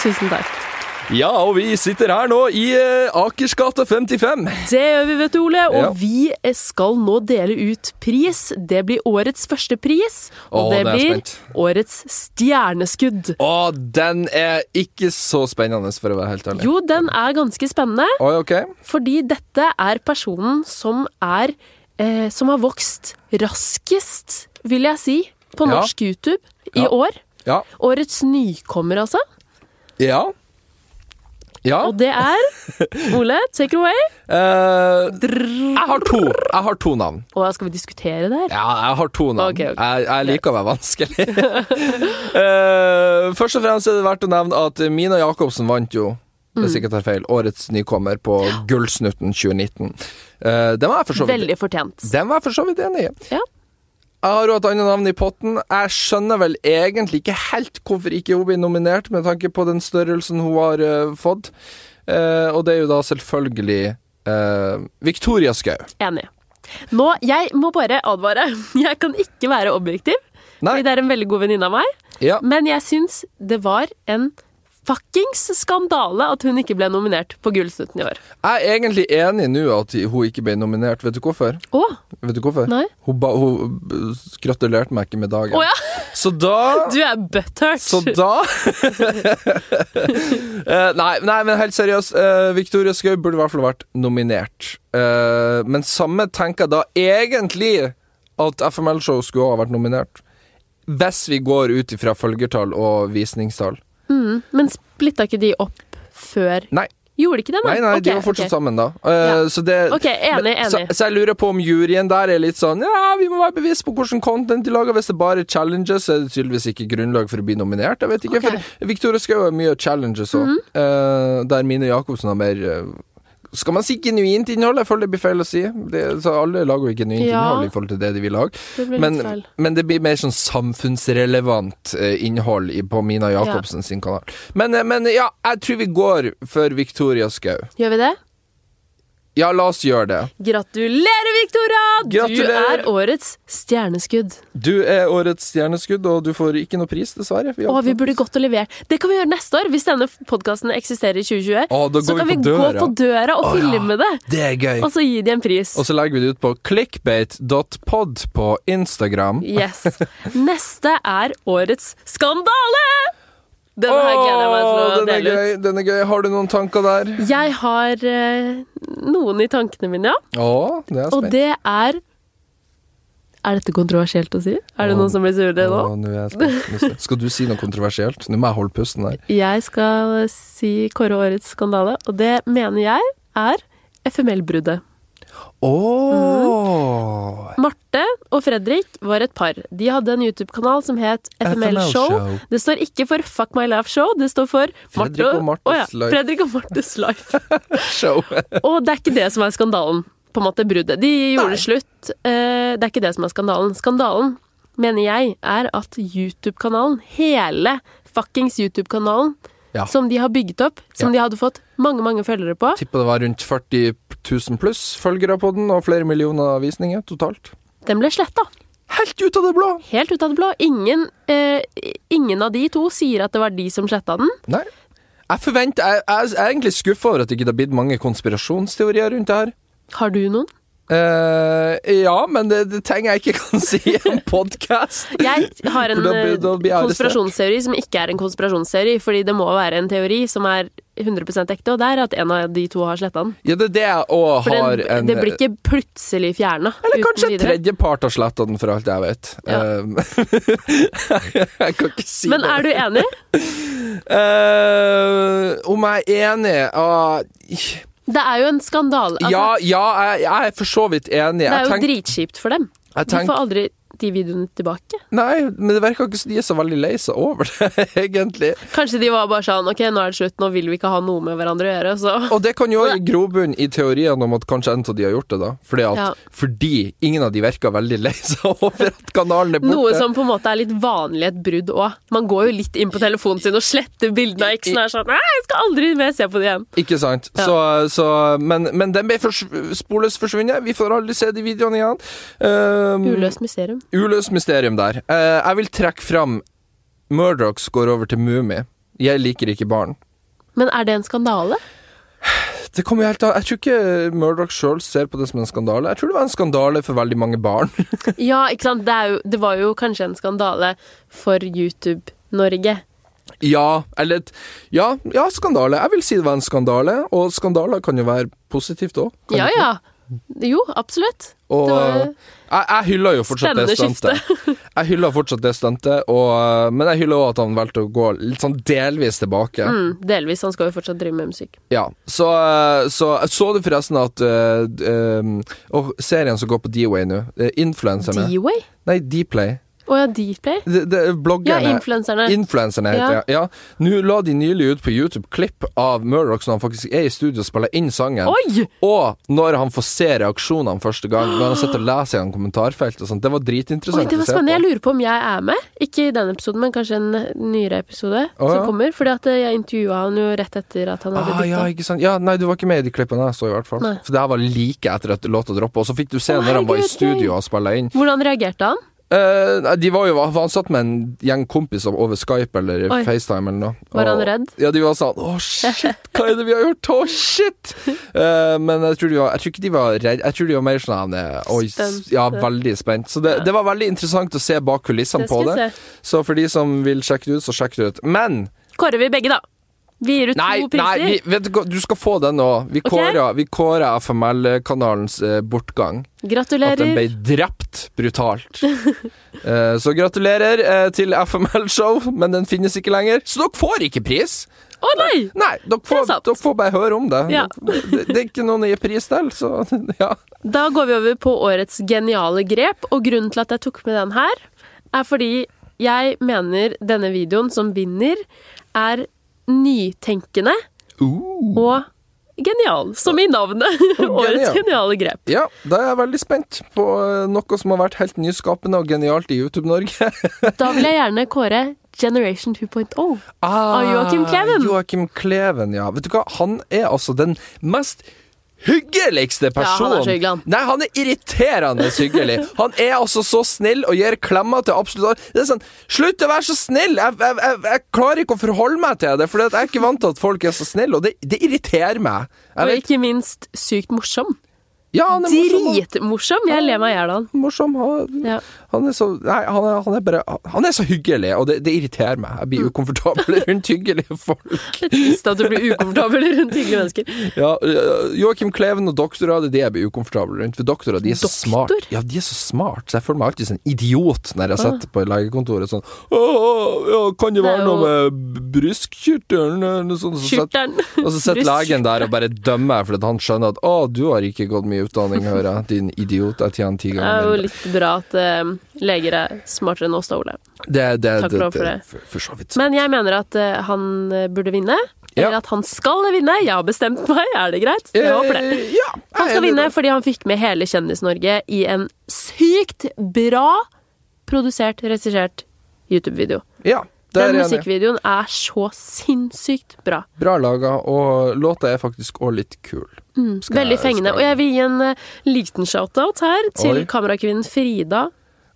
Speaker 1: Tusen takk.
Speaker 2: Ja, og vi sitter her nå i eh, Akersgata 55.
Speaker 1: Det gjør vi, vet du, Ole. Og
Speaker 2: Ja.
Speaker 1: vi skal nå dele ut pris. Det blir årets første pris. Og
Speaker 2: Å,
Speaker 1: det
Speaker 2: det er
Speaker 1: blir
Speaker 2: spent.
Speaker 1: årets stjerneskudd.
Speaker 2: Å, den er ikke så spennende, for å være helt ærlig.
Speaker 1: Jo, den er ganske spennende,
Speaker 2: Oi, ok.
Speaker 1: fordi dette er personen som er eh, Som har vokst raskest, vil jeg si, på
Speaker 2: Ja.
Speaker 1: norsk YouTube i
Speaker 2: Ja.
Speaker 1: år.
Speaker 2: Ja.
Speaker 1: Årets nykommer, altså.
Speaker 2: Ja. Ja.
Speaker 1: Og det er
Speaker 2: [laughs]
Speaker 1: Ole, take it away.
Speaker 2: Eh, jeg har to. Jeg har to navn.
Speaker 1: Og skal vi diskutere det her?
Speaker 2: Ja, jeg har to navn.
Speaker 1: Ok, ok.
Speaker 2: Jeg, jeg liker å være vanskelig. [laughs] Eh, først og fremst er det verdt å nevne at Mina Jacobsen vant jo,
Speaker 1: Mm.
Speaker 2: hvis jeg ikke tar feil, årets nykommer på Gullsnutten 2019. Eh, den var jeg for så vidt
Speaker 1: Veldig fortjent.
Speaker 2: den var jeg for så vidt enig i.
Speaker 1: Ja.
Speaker 2: Jeg har jo et annet navn i potten. Jeg skjønner vel egentlig ikke helt hvorfor ikke hun blir nominert, med tanke på den størrelsen hun har eh, fått. Eh, og det er jo da selvfølgelig eh, Victoria Skau.
Speaker 1: Enig. Nå, Jeg må bare advare. [laughs] Jeg kan ikke være objektiv.
Speaker 2: Nei.
Speaker 1: Fordi det er en veldig god venninne av meg.
Speaker 2: Ja.
Speaker 1: Men jeg syns det var en fuckings skandale at hun ikke ble nominert på Gullsnutten i år.
Speaker 2: Jeg er egentlig enig nå at hun ikke ble nominert. Vet du hvorfor?
Speaker 1: Å,
Speaker 2: Vet du hvorfor?
Speaker 1: nei.
Speaker 2: Hun, ba, hun b- gratulerte meg ikke med dagen.
Speaker 1: Å ja,
Speaker 2: Så da
Speaker 1: du er butthurt. [laughs]
Speaker 2: Så da [laughs] Eh, nei, nei, men helt seriøst. eh, Victoria Skau burde i hvert fall vært nominert. Eh, men samme tenker jeg da egentlig at FML-show skulle ha vært nominert. Hvis vi går ut ifra følgertall og visningstall.
Speaker 1: Mm, men splitta ikke de opp før
Speaker 2: Nei.
Speaker 1: Gjorde ikke det,
Speaker 2: Nei, nei, de var fortsatt sammen, da. Eh,
Speaker 1: Mm, Ja.
Speaker 2: Så det
Speaker 1: Ok, enig,
Speaker 2: Men- Så,
Speaker 1: enig.
Speaker 2: så jeg lurer på om juryen der er litt sånn Ja, vi må være bevisst på hvordan content de lager. Hvis det bare er challenges, så er det tydeligvis ikke grunnlag for å bli nominert. Jeg vet ikke,
Speaker 1: Ok. Mhm.
Speaker 2: for Victoria Skau har mye challenges òg, der Mine Jacobsen har mer eh, skal man si genuint innhold? Jeg føler det blir feil å si. Det, så Alle lager jo genuint
Speaker 1: Ja.
Speaker 2: innhold i forhold til det de vil lage.
Speaker 1: Det ble litt
Speaker 2: Men,
Speaker 1: feil.
Speaker 2: men det blir mer sånn samfunnsrelevant eh, innhold i, på Mina Jacobsen sin kanal. Men, eh, men ja, jeg tror vi går for Victoria Skau.
Speaker 1: Gjør vi det?
Speaker 2: Ja, la oss gjøre det.
Speaker 1: Gratulerer, Victoria!
Speaker 2: Gratulerer.
Speaker 1: Du er årets stjerneskudd.
Speaker 2: Du er årets stjerneskudd, og du får ikke noe pris, dessverre. Vi
Speaker 1: Å, vi burde gått og levert. Det kan vi gjøre neste år, hvis denne podkasten eksisterer i 2020.
Speaker 2: Å, da
Speaker 1: så
Speaker 2: går
Speaker 1: kan
Speaker 2: vi
Speaker 1: vi
Speaker 2: på
Speaker 1: gå
Speaker 2: døra.
Speaker 1: på døra og
Speaker 2: Å, ja.
Speaker 1: filme det,
Speaker 2: Det er gøy.
Speaker 1: og så gi de en pris.
Speaker 2: Og så legger vi det ut på clickbate.pod på Instagram.
Speaker 1: Yes. Neste er årets skandale! Denne her gleder jeg meg til
Speaker 2: Åh,
Speaker 1: å
Speaker 2: den er
Speaker 1: dele ut.
Speaker 2: gøy, den er gøy. Har du noen tanker der?
Speaker 1: Jeg har eh, noen i tankene mine, ja.
Speaker 2: Å, det er
Speaker 1: Og
Speaker 2: spennende.
Speaker 1: det er Er dette kontroversielt å si? Er det
Speaker 2: Å.
Speaker 1: noen som blir sure nå?
Speaker 2: Å, nå er jeg spent. Nå er jeg spent. Skal du si noe kontroversielt? Nå må jeg holde pusten her.
Speaker 1: Jeg skal si kåre årets skandale, og det mener jeg er FML-bruddet. Mm.
Speaker 2: Åh
Speaker 1: Marte og Fredrik var et par. De hadde en YouTube-kanal som het FML Show.
Speaker 2: FML Show.
Speaker 1: Det står ikke for Fuck My Life Show, det står for Marte
Speaker 2: Fredrik og Martes
Speaker 1: Å ja,
Speaker 2: Life.
Speaker 1: Fredrik og Martes Life.
Speaker 2: [laughs] Show.
Speaker 1: Og det er ikke det som er skandalen. På en måte bruddet. De gjorde slutt. Eh, Det er ikke det som er skandalen. Skandalen, mener jeg, er at YouTube-kanalen, hele fuckings YouTube-kanalen,
Speaker 2: Ja.
Speaker 1: som de har bygget opp, som
Speaker 2: Ja.
Speaker 1: de hadde fått mange, mange følgere på,
Speaker 2: Tipper det var rundt 40 000 pluss følgere på den, og flere millioner visninger totalt.
Speaker 1: den ble sletta.
Speaker 2: Helt ut av det blå!
Speaker 1: Helt ut av det blå. Ingen, eh, ingen av de to sier at det var de som sletta den.
Speaker 2: Nei. Jeg forventer Jeg, jeg, jeg er egentlig skuffa over at det ikke har blitt mange konspirasjonsteorier rundt det her.
Speaker 1: Har du noen?
Speaker 2: Eh, ja, men det, det trenger jeg ikke kan si i en podkast.
Speaker 1: Jeg har en
Speaker 2: For da blir- da blir jeg
Speaker 1: eh,
Speaker 2: arrestert.
Speaker 1: konspirasjonsteori som ikke er en konspirasjonsteori, fordi det må være en teori som er 100 ekte, og det er at en av de to har sletta den.
Speaker 2: [laughs] Ja, det er det jeg òg
Speaker 1: For
Speaker 2: har
Speaker 1: den,
Speaker 2: en eh,
Speaker 1: det blir ikke plutselig fjerna.
Speaker 2: Eller kanskje en tredjepart har sletta den, for alt jeg vet.
Speaker 1: Ja.
Speaker 2: Eh, [laughs] jeg kan ikke si
Speaker 1: Men er du enig?
Speaker 2: Eh, om jeg er enig ah,
Speaker 1: Det er jo en skandale. Altså,
Speaker 2: Ja, ja, jeg, jeg er for så vidt enig.
Speaker 1: det er
Speaker 2: Jeg
Speaker 1: jo
Speaker 2: tenk-
Speaker 1: dritkjipt for dem.
Speaker 2: jeg
Speaker 1: De
Speaker 2: tenk-
Speaker 1: får aldri de videoene tilbake.
Speaker 2: Nei, men det virker ikke som de er så veldig lei seg over det, [laughs] egentlig.
Speaker 1: Kanskje de var bare sånn Ok, nå er det slutt, nå vil vi ikke ha noe med hverandre å gjøre. Så
Speaker 2: Og det kan jo gi grobunn i teorien om at kanskje en av de har gjort det, da. Fordi, at,
Speaker 1: Ja.
Speaker 2: fordi ingen av de virker veldig lei seg [laughs] over at kanalen er borte.
Speaker 1: Noe som på en måte er litt vanlig i et brudd òg. Man går jo litt inn på telefonen sin og sletter bildene av eksen og er sånn Nei, jeg skal aldri mer se på det igjen.
Speaker 2: Ikke sant.
Speaker 1: Ja.
Speaker 2: Så, så, men, men den ble fors sporløst forsvunnet. Vi får aldri se de videoene igjen. Um,
Speaker 1: Uløst mysterium.
Speaker 2: uløst mysterium der. Eh, jeg vil trekke fram Murdochs går over til Mummi. Jeg liker ikke barn.
Speaker 1: Men er det en skandale?
Speaker 2: Det kommer jo helt an Jeg tror ikke Murdoch sjøl ser på det som en skandale. Jeg tror det var en skandale for veldig mange barn.
Speaker 1: Ja, ikke sant. Det, er jo, det var jo kanskje en skandale for YouTube-Norge.
Speaker 2: Ja, eller et- ja, ja, skandale. Jeg vil si det var en skandale, og skandaler kan jo være positivt òg.
Speaker 1: Ja ja. Jo, absolutt.
Speaker 2: Og
Speaker 1: Det var-
Speaker 2: eh, jeg, jeg hyller jo fortsatt det
Speaker 1: Spennende
Speaker 2: stuntet.
Speaker 1: [laughs]
Speaker 2: jeg hyller fortsatt det stuntet, og, eh, men jeg hyller òg at han valgte å gå litt sånn delvis tilbake.
Speaker 1: Mm, delvis. Han skal jo fortsatt drive med musikk.
Speaker 2: Ja, så, eh, så så du forresten at eh, d- eh, Og serien som går på D-Way nå, eh, influencerne
Speaker 1: D-Way?
Speaker 2: Nei, D-Play.
Speaker 1: Å ja, Dplay?
Speaker 2: Det- det-
Speaker 1: Ja,
Speaker 2: Bloggerne.
Speaker 1: influenserne.
Speaker 2: Influencerne heter
Speaker 1: Eh. Ja.
Speaker 2: det, ja. Nå la de nylig ut på YouTube klipp av Murdoch når han faktisk er i studio og spiller inn sangen.
Speaker 1: Oi!
Speaker 2: Og når han får se reaksjonene første gang, når han sitter og leser gjennom kommentarfeltet og sånt. Det var
Speaker 1: Oi,
Speaker 2: dritinteressant
Speaker 1: det var
Speaker 2: å se
Speaker 1: spennende. Jeg
Speaker 2: på.
Speaker 1: lurer på om jeg er med. Ikke i denne episoden, men kanskje en nyere episode
Speaker 2: Å, ja.
Speaker 1: som kommer. Fordi at eh, jeg intervjua han jo rett etter at han hadde
Speaker 2: Ah,
Speaker 1: bytta.
Speaker 2: ja, ikke sant. Ja, nei, du var ikke med i de klippene jeg så, i hvert fall.
Speaker 1: Nei.
Speaker 2: For det her var like etter at låta droppa, og så fikk du se
Speaker 1: Å,
Speaker 2: når han var i
Speaker 1: herregud,
Speaker 2: studio
Speaker 1: gøy.
Speaker 2: og spilla inn.
Speaker 1: Hvordan reagerte han?
Speaker 2: Eh, nei, de var jo var ansatt med en gjeng kompiser over Skype eller
Speaker 1: Oi.
Speaker 2: FaceTime eller noe.
Speaker 1: Var han
Speaker 2: Og-
Speaker 1: redd?
Speaker 2: Ja, de var sånn Å, shit, hva er det vi har gjort? Å, shit! Eh, men jeg tror, de var, jeg tror ikke de var redd. Jeg tror de var mer sånn eh, Oi, s-
Speaker 1: Spent.
Speaker 2: ja, veldig spent. Så det, det var veldig interessant å se bak kulissene
Speaker 1: Det
Speaker 2: på
Speaker 1: skal
Speaker 2: det.
Speaker 1: vi se.
Speaker 2: Så for de som vil sjekke det ut, så sjekk det ut. Men
Speaker 1: Kårer vi begge, da? Vi gir ut
Speaker 2: Nei,
Speaker 1: to
Speaker 2: nei
Speaker 1: priser.
Speaker 2: vi, vet du, hva, du skal få den òg. Vi
Speaker 1: Ok.
Speaker 2: kårer- vi kårer FML-kanalens eh, bortgang. At den
Speaker 1: Gratulerer.
Speaker 2: ble drept brutalt. Eh, så gratulerer eh, til FML-show, men den finnes ikke lenger. Så dere får ikke pris!
Speaker 1: Å nei!
Speaker 2: Nei, dere får,
Speaker 1: Det er sant.
Speaker 2: dere får bare høre om det.
Speaker 1: Ja.
Speaker 2: [laughs] det. Det er ikke noen å gi pris til, så [laughs] ja.
Speaker 1: Da går vi over på årets geniale grep, og grunnen til at jeg tok med den her, er fordi jeg mener denne videoen som vinner, er nytenkende og genial. Som i navnet.
Speaker 2: [laughs]
Speaker 1: Årets geniale grep.
Speaker 2: Ja, da er jeg veldig spent på eh, noe som har vært helt nyskapende og genialt i YouTube-Norge.
Speaker 1: Da vil jeg gjerne kåre Generation 2.0.
Speaker 2: Ah,
Speaker 1: Av Joachim Kleven.
Speaker 2: Joachim Kleven, ja. Vet du hva, han er altså den mest hyggeligste
Speaker 1: Ja, han
Speaker 2: personen.
Speaker 1: er så hyggelig, han.
Speaker 2: Nei, han er irriterende hyggelig. Han er altså så snill og gir klemmer til absolutt alle. Det er sånn, slutt å være så snill! Jeg, jeg, jeg, jeg klarer ikke å forholde meg til det, for jeg er ikke vant til at folk er så snille, og det, det irriterer meg. Jeg
Speaker 1: Og
Speaker 2: vet,
Speaker 1: ikke minst sykt morsom.
Speaker 2: ja, han er morsom.
Speaker 1: Dritmorsom! Jeg ler meg i hjel av han.
Speaker 2: han. Morsom. Han,
Speaker 1: Ja.
Speaker 2: han er så Nei, han er, han er bare Han er så hyggelig, og det, det irriterer meg. Jeg
Speaker 1: Mm.
Speaker 2: blir ukomfortabel rundt hyggelige folk.
Speaker 1: [laughs] Litt trist at du blir ukomfortabel rundt hyggelige mennesker.
Speaker 2: Ja, øh, Joakim Kleven og doktorer, det er det jeg blir ukomfortabel rundt. For doktorer, de er så
Speaker 1: Doktor?
Speaker 2: smart. Ja, de er så smart, så jeg føler meg alltid som en idiot når jeg sitter på legekontoret sånn «Åh, åh, ja, kan det
Speaker 1: Det er
Speaker 2: være noe med brystkirtelen eller noe sånt?» Så sitter-
Speaker 1: Skjorteren.
Speaker 2: Og så sitter
Speaker 1: Brystkirtelen.
Speaker 2: legen der og bare dømmer, fordi han skjønner at 'Å, du har ikke gått mye utdanning, hører jeg, din idiot, jeg tjener ti
Speaker 1: Det er jo
Speaker 2: ganger mindre'.
Speaker 1: litt bra at eh, leger er smartere enn oss, da, Ole.
Speaker 2: Det, det,
Speaker 1: Takk
Speaker 2: det,
Speaker 1: og lov for det.
Speaker 2: for, for så vidt.
Speaker 1: Men jeg mener at eh, han eh, burde vinne. Eller
Speaker 2: Ja.
Speaker 1: at han skal vinne. Jeg har bestemt meg, er det greit? Jeg håper det.
Speaker 2: Eh, ja,
Speaker 1: Han skal
Speaker 2: jeg er enig i
Speaker 1: vinne
Speaker 2: det.
Speaker 1: fordi han fikk med hele Kjendis-Norge i en sykt bra produsert, regissert YouTube-video.
Speaker 2: Ja, der er
Speaker 1: Den
Speaker 2: jeg enig.
Speaker 1: musikkvideoen er så sinnssykt bra.
Speaker 2: Bra laga, og låta er faktisk òg litt kul. Skal jeg-
Speaker 1: Mm, Veldig
Speaker 2: skal
Speaker 1: fengende.
Speaker 2: jeg-
Speaker 1: Og jeg vil gi en eh, liten shout-out her til
Speaker 2: Oi.
Speaker 1: kamerakvinnen Frida,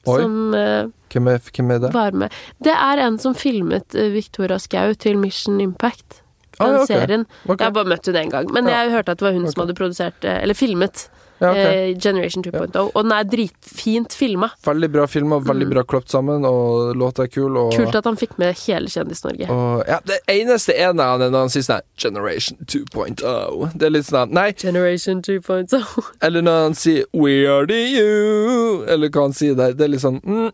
Speaker 2: Oi.
Speaker 1: som eh,
Speaker 2: Hvem er, hvem er det?
Speaker 1: var med. Det er en som filmet eh, Victoria Skau til Mission Impact.
Speaker 2: Ah,
Speaker 1: Den
Speaker 2: ja, ok.
Speaker 1: serien.
Speaker 2: Ok.
Speaker 1: Jeg har bare møtt henne én gang, men
Speaker 2: Ja.
Speaker 1: jeg hørte at det var hun
Speaker 2: Ok.
Speaker 1: som hadde produsert, eh, eller filmet,
Speaker 2: Ja, ok.
Speaker 1: eh, Generation 2.0. Og den er dritfint filma.
Speaker 2: Veldig bra film, og veldig bra kløpt sammen, og låta er kul. Og,
Speaker 1: mm. Kult at han fikk med hele Kjendis-Norge.
Speaker 2: og ja, Det eneste ene han er når han sier sånn her, Generation 2.0. Det er litt sånn her, Nei,
Speaker 1: Generation oh. 2.0.
Speaker 2: eller når han sier We are the you, eller hva han sier der. Det er litt sånn mm,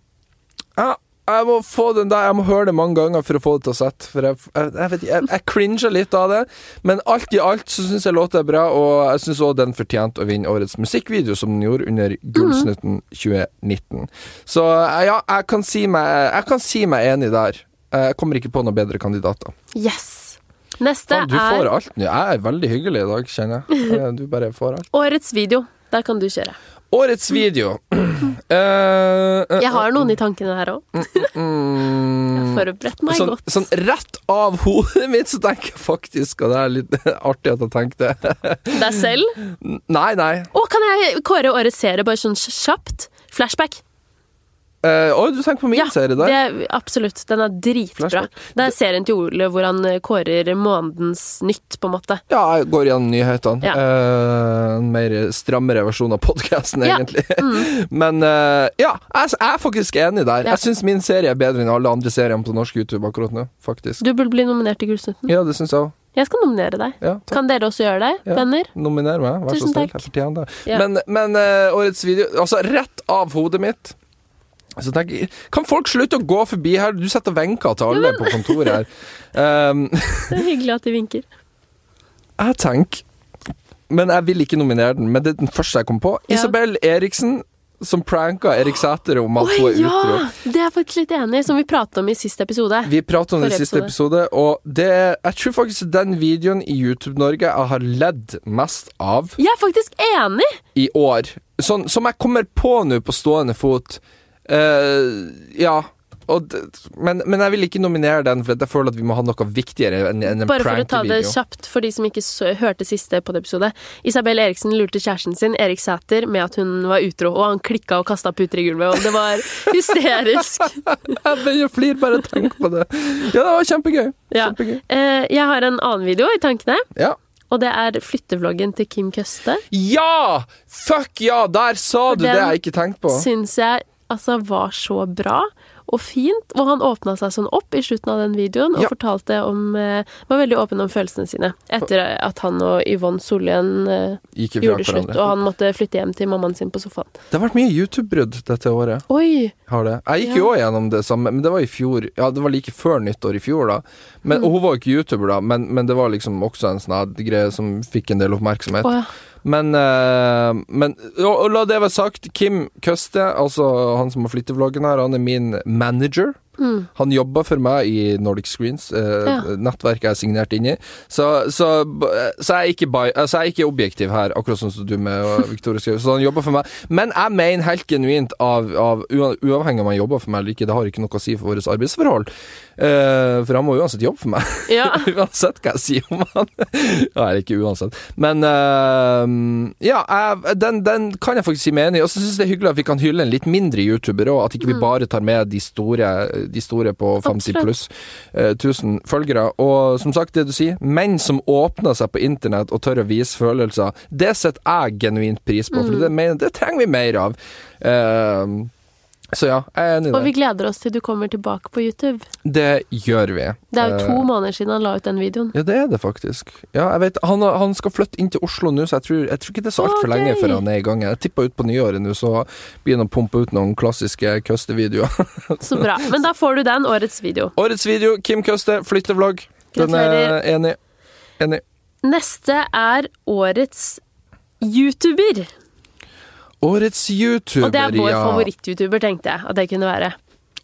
Speaker 2: ja, jeg må få den der, jeg må høre det mange ganger for å få det til å sette. For jeg, jeg, jeg vet ikke, jeg, jeg cringer litt av det. Men alt i alt så syns jeg låta er bra, og jeg syns òg den fortjente å vinne årets musikkvideo, som den gjorde under Gullsnutten 2019. Så ja, jeg kan si meg, jeg kan si meg enig der. Eh, Jeg kommer ikke på noen bedre kandidater.
Speaker 1: [laughs] Yes! Neste
Speaker 2: Faen, du får
Speaker 1: er
Speaker 2: alt nå. Jeg er veldig hyggelig i dag, kjenner jeg. Eh, Du bare får alt.
Speaker 1: årets video. Der kan du kjøre.
Speaker 2: Årets video. [clears throat] Eh, eh,
Speaker 1: Jeg har noen i tankene her òg.
Speaker 2: mm,
Speaker 1: Forberedt meg
Speaker 2: sånn,
Speaker 1: godt.
Speaker 2: sånn rett av hodet mitt, så tenker jeg faktisk Og det er litt [laughs] artig at jeg tenkte det.
Speaker 1: Deg selv.
Speaker 2: Nei, nei.
Speaker 1: Å, kan jeg kåre årets serie bare sånn kjapt? Flashback.
Speaker 2: Eh, Å, du tenker på min serie der?
Speaker 1: det er, absolutt. Den er dritbra.
Speaker 2: Flashback.
Speaker 1: Det er serien til Ole hvor han eh, kårer månedens nytt, på en måte.
Speaker 2: Ja, jeg går gjennom nyhetene.
Speaker 1: Ja.
Speaker 2: Eh, en mer strammere versjon av podkasten,
Speaker 1: Ja, [laughs] Mm.
Speaker 2: egentlig. [laughs] Men eh, ja, jeg, jeg er faktisk enig der.
Speaker 1: Ja.
Speaker 2: Jeg syns min serie er bedre enn alle andre seriene på norsk YouTube akkurat nå, faktisk.
Speaker 1: Du burde bli nominert til Gullsnutten.
Speaker 2: Ja, det syns jeg òg.
Speaker 1: Jeg skal nominere deg.
Speaker 2: Ja, takk.
Speaker 1: Kan dere også gjøre det,
Speaker 2: Ja.
Speaker 1: venner?
Speaker 2: Nominer meg, vær
Speaker 1: Tusen
Speaker 2: så snill.
Speaker 1: takk.
Speaker 2: Jeg fortjener det.
Speaker 1: Ja.
Speaker 2: Men, men eh, årets video Altså, rett av hodet mitt så tenker jeg, Kan folk slutte å gå forbi her? Du sitter og venker til alle på kontoret
Speaker 1: [laughs]
Speaker 2: her. Um,
Speaker 1: Det er hyggelig at de vinker.
Speaker 2: jeg tenker Men jeg vil ikke nominere den, men det er den første jeg kom på.
Speaker 1: Ja.
Speaker 2: Isabel Eriksen som pranka Erik Sæter om at
Speaker 1: Oi,
Speaker 2: hun er
Speaker 1: ja!
Speaker 2: utro.
Speaker 1: Det er jeg faktisk litt enig i, som vi pratet om i siste episode.
Speaker 2: Vi pratet om det i
Speaker 1: Forrige
Speaker 2: siste episode, og det, jeg tror faktisk den videoen i YouTube-Norge jeg har ledd mest av
Speaker 1: Jeg er faktisk enig!
Speaker 2: i år. Sånn som jeg kommer på nå på stående fot. Eh, ja. og, d- men, men jeg vil ikke nominere den, for jeg føler at vi må ha noe viktigere enn enn en
Speaker 1: Bare for å ta det
Speaker 2: [laughs] prank-video.
Speaker 1: kjapt for de som ikke så, hørte siste podiepisode. Isabel Eriksen lurte kjæresten sin, Erik Sæter, med at hun var utro, og han klikka og kasta puter i gulvet, og det
Speaker 2: [laughs]
Speaker 1: var hysterisk.
Speaker 2: Jeg begynner å flire bare av tanken på det. Ja, det var kjempegøy.
Speaker 1: Ja.
Speaker 2: kjempegøy.
Speaker 1: Eh, jeg har en annen video i tankene,
Speaker 2: Ja.
Speaker 1: og det er flyttevloggen til Kim Køste.
Speaker 2: ja! Fuck ja! Der sa
Speaker 1: For
Speaker 2: du det
Speaker 1: den
Speaker 2: jeg ikke tenkte på.
Speaker 1: Syns jeg altså var så bra. Og fint, og han åpna seg sånn opp i slutten av den videoen og
Speaker 2: Ja.
Speaker 1: fortalte om eh, Var veldig åpen om følelsene sine etter at han og Yvonne Sollien eh,
Speaker 2: Gikk ifra
Speaker 1: gjorde slutt, og
Speaker 2: hverandre.
Speaker 1: han måtte flytte hjem til mammaen sin på sofaen.
Speaker 2: Det har vært mye YouTube-brudd dette året.
Speaker 1: Oi!
Speaker 2: Har det. Jeg gikk
Speaker 1: Ja.
Speaker 2: jo òg gjennom det samme, men det var i fjor. Ja, det var like før nyttår i fjor, da. Men, Og hun var jo ikke YouTuber, da, men, men det var liksom også en sånn her greie som fikk en del oppmerksomhet.
Speaker 1: Å, ja.
Speaker 2: Men, eh, men og, og la det være sagt, Kim Køste, altså han som har flyttevloggen her, han er min manager.
Speaker 1: Mm.
Speaker 2: Han jobba for meg i Nordic Screens, eh,
Speaker 1: Ja.
Speaker 2: nettverket jeg er signert inn i. Så, så, så, jeg er ikke bi, altså jeg er ikke objektiv her, akkurat sånn som du med og Victoria skrev. Så han jobber for meg. Men jeg mener helt genuint, av, av, ua- uavhengig om han jobber for meg eller ikke, det har ikke noe å si for våre arbeidsforhold. Eh, for han må uansett jobbe for meg.
Speaker 1: ja.
Speaker 2: [laughs] Uansett hva jeg sier om han. [laughs] Ja, Eller ikke uansett. Men eh, ja, jeg, den, den kan jeg faktisk si meg enig i. Og så syns jeg det er hyggelig at vi kan hylle en litt mindre youtuber òg. At ikke vi bare tar med de store, de store på 50
Speaker 1: Mm. Absolutt.
Speaker 2: pluss eh, 1000 følgere. Og som sagt, det du sier, menn som åpner seg på internett og tør å vise følelser, det setter jeg genuint pris på.
Speaker 1: Mm.
Speaker 2: For det, mener, det trenger vi mer av. Eh, så ja, jeg er enig i
Speaker 1: Og
Speaker 2: det.
Speaker 1: vi gleder oss til du kommer tilbake på YouTube.
Speaker 2: Det gjør vi.
Speaker 1: Det er jo
Speaker 2: Eh,
Speaker 1: to måneder siden han la ut den videoen.
Speaker 2: ja, det er det faktisk. Ja, jeg vet, han, har- han skal flytte inn til Oslo nå, så jeg tror, jeg tror ikke det er så
Speaker 1: Å,
Speaker 2: altfor lenge
Speaker 1: gøy.
Speaker 2: før han er i gang. Jeg tippa ut på nyåret nå, så begynner han å pumpe ut noen klassiske Køste-videoer. [laughs]
Speaker 1: Så bra. Men da får du den, årets video.
Speaker 2: Årets video, Kim Køste, flyttevlogg. Den er
Speaker 1: Gratulerer.
Speaker 2: enig. Enig.
Speaker 1: Neste er årets YouTuber.
Speaker 2: Årets YouTuber,
Speaker 1: Og det er vår
Speaker 2: ja.
Speaker 1: favoritt-YouTuber, tenkte jeg at det kunne være.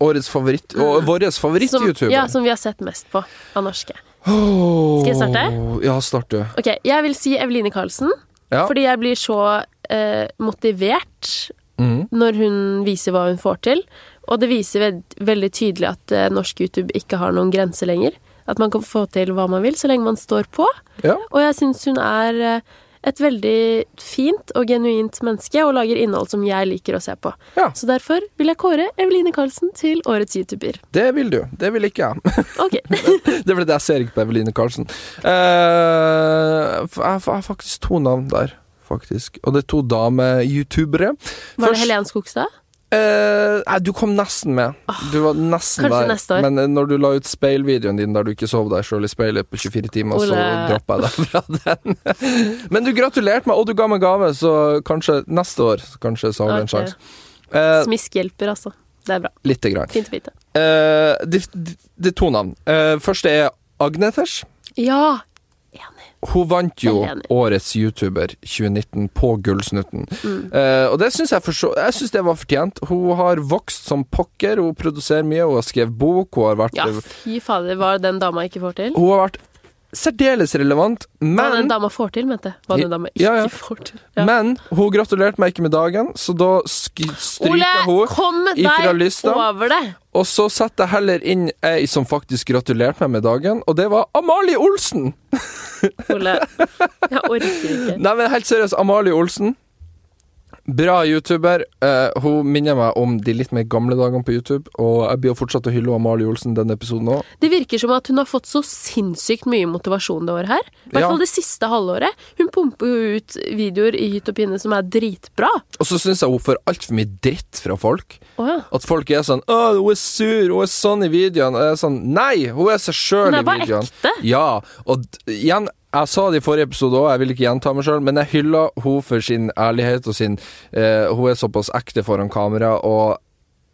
Speaker 2: Årets favoritt, og vår
Speaker 1: Mm. Som,
Speaker 2: favoritt-YouTuber.
Speaker 1: ja, som vi har sett mest på av norske. Skal jeg starte?
Speaker 2: Ja, start du.
Speaker 1: Ok, Jeg vil si Eveline Karlsen,
Speaker 2: Ja.
Speaker 1: fordi jeg blir så eh, motivert
Speaker 2: Mhm.
Speaker 1: når hun viser hva hun får til. Og det viser ved, veldig tydelig at eh, norsk YouTube ikke har noen grenser lenger. At man kan få til hva man vil så lenge man står på.
Speaker 2: ja.
Speaker 1: Og jeg syns hun er eh, et veldig fint og genuint menneske og lager innhold som jeg liker å se på.
Speaker 2: Ja.
Speaker 1: Så derfor vil jeg kåre Eveline Karlsen til årets YouTuber.
Speaker 2: Det vil du. Det vil ikke jeg.
Speaker 1: Ok, [laughs]
Speaker 2: Det er fordi jeg ser ikke på Eveline Karlsen. Eh, f- jeg f- jeg har faktisk to navn der, faktisk. Og det er to dame-youtubere.
Speaker 1: Var det
Speaker 2: Først-
Speaker 1: Helen Skogstad?
Speaker 2: Eh, nei, du kom nesten med. Du var nesten
Speaker 1: Ah, kanskje
Speaker 2: der.
Speaker 1: neste år.
Speaker 2: Men eh, når du la ut speilvideoen din der du ikke sov deg sjøl i speilet på 24 timer, så
Speaker 1: Ole.
Speaker 2: droppa jeg deg fra den. [laughs] Men du gratulerte meg, og du ga meg gave, så kanskje neste år så Kanskje så har du en
Speaker 1: Ok.
Speaker 2: sjanse. Eh,
Speaker 1: Smisk hjelper, altså. Det er bra.
Speaker 2: Lite grann.
Speaker 1: Fint å vite.
Speaker 2: Eh, det, det, det er to navn. Eh, første er Agnetesh.
Speaker 1: Ja! Enig.
Speaker 2: Hun vant jo
Speaker 1: Veldig enig.
Speaker 2: Årets YouTuber 2019 på Gullsnutten.
Speaker 1: Mm.
Speaker 2: Eh, og det syns jeg, for så- jeg synes det var fortjent. Hun har vokst som pokker, hun produserer mye, hun har skrevet bok, hun har vært,
Speaker 1: Ja, fy fader, hva den dama ikke får til?
Speaker 2: hun har vært særdeles relevant,
Speaker 1: Hva den
Speaker 2: men
Speaker 1: dama får til, mente jeg. Hva den dama ikke
Speaker 2: Ja, ja.
Speaker 1: får til. Ja.
Speaker 2: Men hun gratulerte meg ikke med dagen, så da sk
Speaker 1: Ole,
Speaker 2: stryker hun.
Speaker 1: kom
Speaker 2: ifra
Speaker 1: deg
Speaker 2: lista.
Speaker 1: over det!
Speaker 2: Og så setter jeg heller inn ei som faktisk gratulerte meg med dagen, og det var Amalie Olsen!
Speaker 1: Ole. Jeg orker ikke.
Speaker 2: Nei, men helt seriøst, Amalie Olsen. Bra YouTuber. Eh, hun minner meg om de litt mer gamle dagene på YouTube. Og jeg blir jo fortsatt å hylle Amalie Olsen denne episoden òg.
Speaker 1: Det virker som at hun har fått så sinnssykt mye motivasjon det året her. I hvert
Speaker 2: Ja.
Speaker 1: fall det siste halvåret. Hun pumper jo ut videoer i hytt og pinne som er dritbra.
Speaker 2: Og så syns jeg hun får altfor mye dritt fra folk.
Speaker 1: Å ja.
Speaker 2: At folk er sånn 'Å, hun er sur, hun er sånn i videoen'. Og jeg er sånn Nei! Hun er seg sjøl
Speaker 1: Hun
Speaker 2: i
Speaker 1: er bare
Speaker 2: videoen.
Speaker 1: ekte.
Speaker 2: Ja. Og d- igjen, jeg sa det i forrige episode òg, jeg vil ikke gjenta meg sjøl, men jeg hyller hun for sin ærlighet og sin eh, Hun er såpass ekte foran kamera, og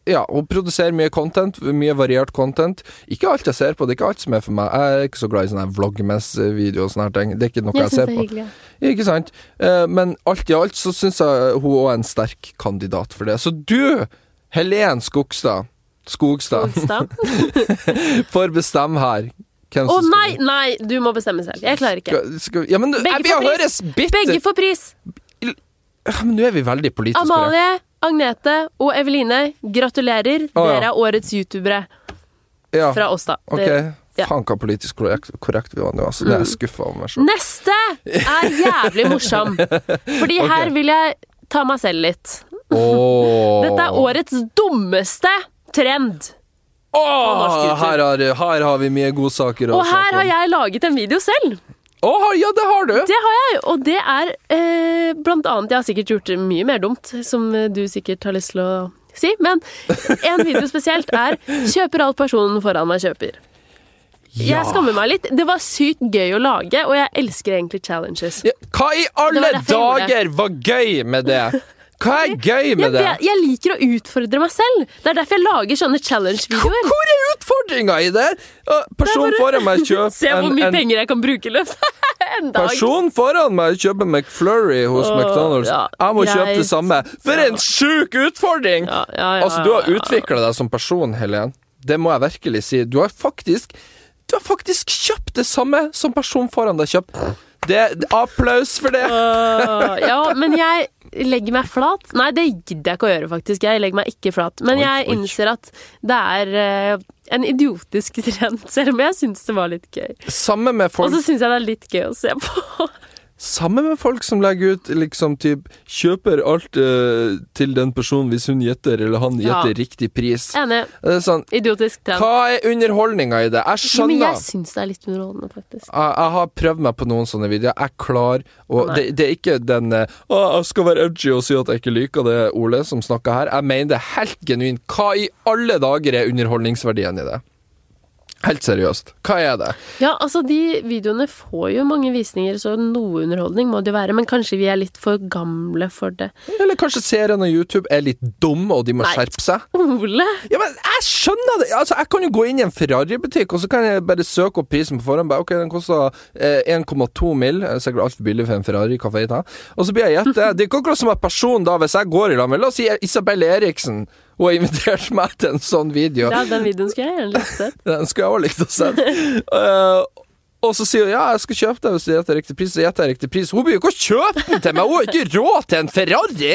Speaker 2: ja, hun produserer mye content, mye variert content. Ikke alt jeg ser på, det er ikke alt som er for meg. Jeg er ikke så glad i sånne her vloggmess-videoer og sånne her ting. Det er ikke noe jeg,
Speaker 1: Jeg syns det
Speaker 2: ser
Speaker 1: er
Speaker 2: på.
Speaker 1: hyggelig. ja.
Speaker 2: Ikke sant? Eh, Men alt i alt så syns jeg hun òg er en sterk kandidat for det. Så du, Helen Skogstad, Skogstad,
Speaker 1: Onsdag.
Speaker 2: [laughs] får bestemme her. Hvem
Speaker 1: Å
Speaker 2: som skal-
Speaker 1: nei, nei! Du må bestemme selv. Jeg klarer ikke.
Speaker 2: Skal, skal, ja, men
Speaker 1: Begge
Speaker 2: jeg vil
Speaker 1: får pris.
Speaker 2: høres Ah, bitte
Speaker 1: Begge får pris!
Speaker 2: Ja, men Nå er vi veldig politisk korrekt.
Speaker 1: Amalie, Agnete og Eveline, gratulerer.
Speaker 2: Å, ja.
Speaker 1: Dere er årets youtubere
Speaker 2: Ja,
Speaker 1: fra oss, da.
Speaker 2: ok.
Speaker 1: Dere- ja. Mm.
Speaker 2: Fanka politisk korrekt, korrekt vi var nå, altså. Det er jeg skuffa
Speaker 1: [laughs]
Speaker 2: over meg sjøl.
Speaker 1: Neste er jævlig
Speaker 2: [laughs]
Speaker 1: morsom. Fordi her vil jeg ta meg selv litt. Dette er årets dummeste trend. norsk
Speaker 2: Åh,
Speaker 1: YouTube.
Speaker 2: her, har, her har vi mye godsaker. å
Speaker 1: Og
Speaker 2: snakke
Speaker 1: her har
Speaker 2: om.
Speaker 1: jeg laget en video selv.
Speaker 2: Åh, ja, det har du!
Speaker 1: Det har jeg, og det er eh, blant annet Jeg har sikkert gjort mye mer dumt, som eh, du sikkert har lyst til å si, men en video spesielt er 'Kjøper alt personen foran meg kjøper'.
Speaker 2: Ja.
Speaker 1: Jeg skammer meg litt. Det var sykt gøy å lage, og jeg elsker egentlig challenges.
Speaker 2: Ja, hva i alle
Speaker 1: Det var derfor jeg
Speaker 2: dager var gøy med det? Hva er gøy
Speaker 1: Jeg,
Speaker 2: med det?
Speaker 1: vet- jeg liker å utfordre meg selv. Det er derfor jeg lager sånne challenge-videoer.
Speaker 2: Hvor er utfordringa i det? Eh, Person foran meg
Speaker 1: [laughs] Se
Speaker 2: kjøper
Speaker 1: hvor
Speaker 2: en,
Speaker 1: mye
Speaker 2: en
Speaker 1: penger jeg kan bruke i løpet av [laughs] en dag.
Speaker 2: person foran meg kjøper McFlurry hos
Speaker 1: Åh,
Speaker 2: McDonald's.
Speaker 1: ja,
Speaker 2: Jeg må kjøpe
Speaker 1: greit.
Speaker 2: det samme. For en sjuk utfordring!
Speaker 1: Ja, ja, ja,
Speaker 2: Altså, du har
Speaker 1: ja, ja.
Speaker 2: utvikla deg som person, Helen. Det må jeg virkelig si. Du har faktisk Du har faktisk kjøpt det samme som personen foran deg kjøpte. Det, det, applaus for det!
Speaker 1: Åh, ja, men jeg legger meg flat. Nei, det gidder jeg ikke å gjøre, faktisk. Jeg legger meg ikke flat. Men
Speaker 2: Oi,
Speaker 1: jeg
Speaker 2: oi.
Speaker 1: innser at det er eh, en idiotisk trend, [laughs] selv om jeg syns det var litt gøy.
Speaker 2: Samme med
Speaker 1: Og
Speaker 2: folk
Speaker 1: så syns jeg det er litt gøy å se
Speaker 2: [laughs]
Speaker 1: på.
Speaker 2: Samme med folk som legger ut liksom typ Kjøper alt eh, til den personen hvis hun gjetter eller han
Speaker 1: Ja.
Speaker 2: gjetter riktig pris.
Speaker 1: Enig.
Speaker 2: Det er sånn
Speaker 1: Idiotisk trend.
Speaker 2: Hva er underholdninga i det? Jeg
Speaker 1: Jo,
Speaker 2: skjønner.
Speaker 1: men jeg
Speaker 2: jeg,
Speaker 1: syns det er litt underholdende, faktisk.
Speaker 2: jeg har prøvd meg på noen sånne videoer. Jeg klar og
Speaker 1: Nei.
Speaker 2: det, det er ikke den eh, Å, jeg skal være edgy og si at jeg ikke liker det Ole som snakker her. Jeg mener det helt genuint. Hva i alle dager er underholdningsverdien i det? Helt seriøst. Hva er det?
Speaker 1: Ja, altså, de videoene får jo mange visninger, så noe underholdning må det jo være. Men kanskje vi er litt for gamle for det.
Speaker 2: Eller kanskje seerne og YouTube er litt dumme, og de må
Speaker 1: Nei.
Speaker 2: skjerpe seg?
Speaker 1: Ole!
Speaker 2: Ja, men jeg skjønner det! Altså, Jeg kan jo gå inn i en Ferrari-butikk, og så kan jeg bare søke opp prisen på forhånd. Bare, ok, den koster eh, 1,2 mill. Det er Sikkert altfor billig for en Ferrari. Hva får jeg ta? Og så blir jeg gjette. Det er ikke akkurat som at personen da, hvis jeg går i lag med La oss si Isabel Eriksen. Hun har invitert meg til en sånn video.
Speaker 1: Ja, den videoen skulle jeg gjerne likt sett.
Speaker 2: Den skulle jeg også likt å se. Eh, og så sier hun ja, jeg skal kjøpe den hvis du gjetter riktig pris. Så gjetter jeg riktig pris. Hun blir jo ikke å kjøpe den til meg! Hun har jo ikke råd til en Ferrari!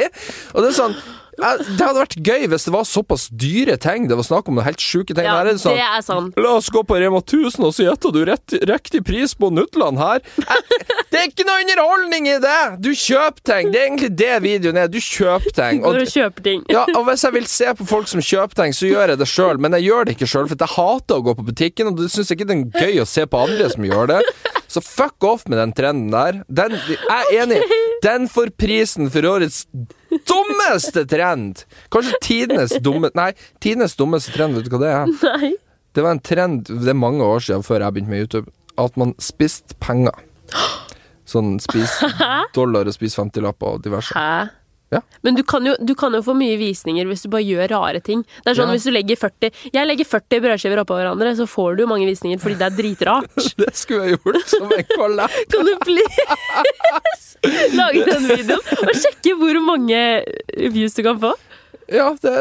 Speaker 2: Og det er sånn jeg- Det hadde vært gøy hvis det var såpass dyre ting. Det var snakk om noen helt sjuke ting.
Speaker 1: Ja,
Speaker 2: Her er det sånn
Speaker 1: det er sant.
Speaker 2: La oss gå på Rema 1000, og så gjetter du rett, riktig pris på Nutland her. Jeg- Det er ikke noe underholdning i det! Du kjøper ting. Det er egentlig det videoen er. Du kjøper ting.
Speaker 1: Går og kjøper ting.
Speaker 2: Ja, og Hvis jeg vil se på folk som kjøper ting, så gjør jeg det sjøl. Men jeg gjør det ikke sjøl, for jeg hater å gå på butikken, og det syns ikke det er gøy å se på andre som gjør det. Så fuck off med den trenden der. Den, jeg er enig. Den får prisen for årets dummeste trend! Kanskje tidenes dumme... Nei, tidenes dummeste trend, vet du hva det
Speaker 1: [laughs]
Speaker 2: er?
Speaker 1: Nei.
Speaker 2: Det var en trend det er mange år siden før jeg begynte med YouTube, at man spiste penger. Sånn spis dollar og spis 50-lapper og diverse.
Speaker 1: Hæ?
Speaker 2: Ja.
Speaker 1: Men du kan, jo, du kan jo få mye visninger hvis du bare gjør rare ting. Det er sånn
Speaker 2: Ja.
Speaker 1: hvis du legger 40 Jeg legger 40 brødskiver oppå hverandre, så får du jo mange visninger fordi det er
Speaker 2: [laughs]
Speaker 1: dritrart.
Speaker 2: Det skulle jeg gjort som en kollab.
Speaker 1: Kan du please
Speaker 2: [laughs]
Speaker 1: lage den videoen og sjekke hvor mange views du kan få?
Speaker 2: Ja, det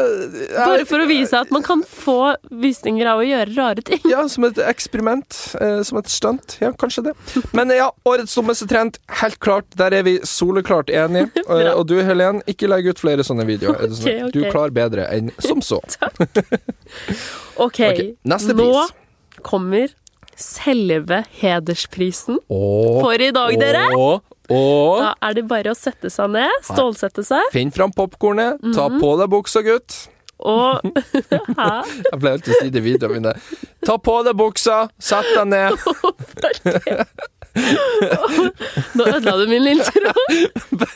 Speaker 1: Bare
Speaker 2: jeg,
Speaker 1: for å vise at man kan få visninger av å gjøre rare ting.
Speaker 2: Ja, som et eksperiment. Eh, som et stunt. Ja, kanskje det. Men eh, ja, årets dummeste trend. Helt klart, der er vi
Speaker 1: [laughs]
Speaker 2: soleklart enige. Eh, og du, Helen, ikke legg ut flere sånne videoer. Er det sånn at
Speaker 1: Ok, ok.
Speaker 2: Du klarer bedre enn som så.
Speaker 1: OK,
Speaker 2: Ok, neste
Speaker 1: nå
Speaker 2: pris.
Speaker 1: kommer selve hedersprisen
Speaker 2: Og,
Speaker 1: for i dag, dere.
Speaker 2: Og, og
Speaker 1: Da er det bare å sette seg ned, stålsette seg
Speaker 2: Finn fram popkornet, ta
Speaker 1: Mhm.
Speaker 2: på deg buksa, gutt.
Speaker 1: og [laughs] Hæ?
Speaker 2: Jeg pleier alltid å si det i videoene mine. Ta på deg buksa, sett deg ned.
Speaker 1: Nå ødela du min intro.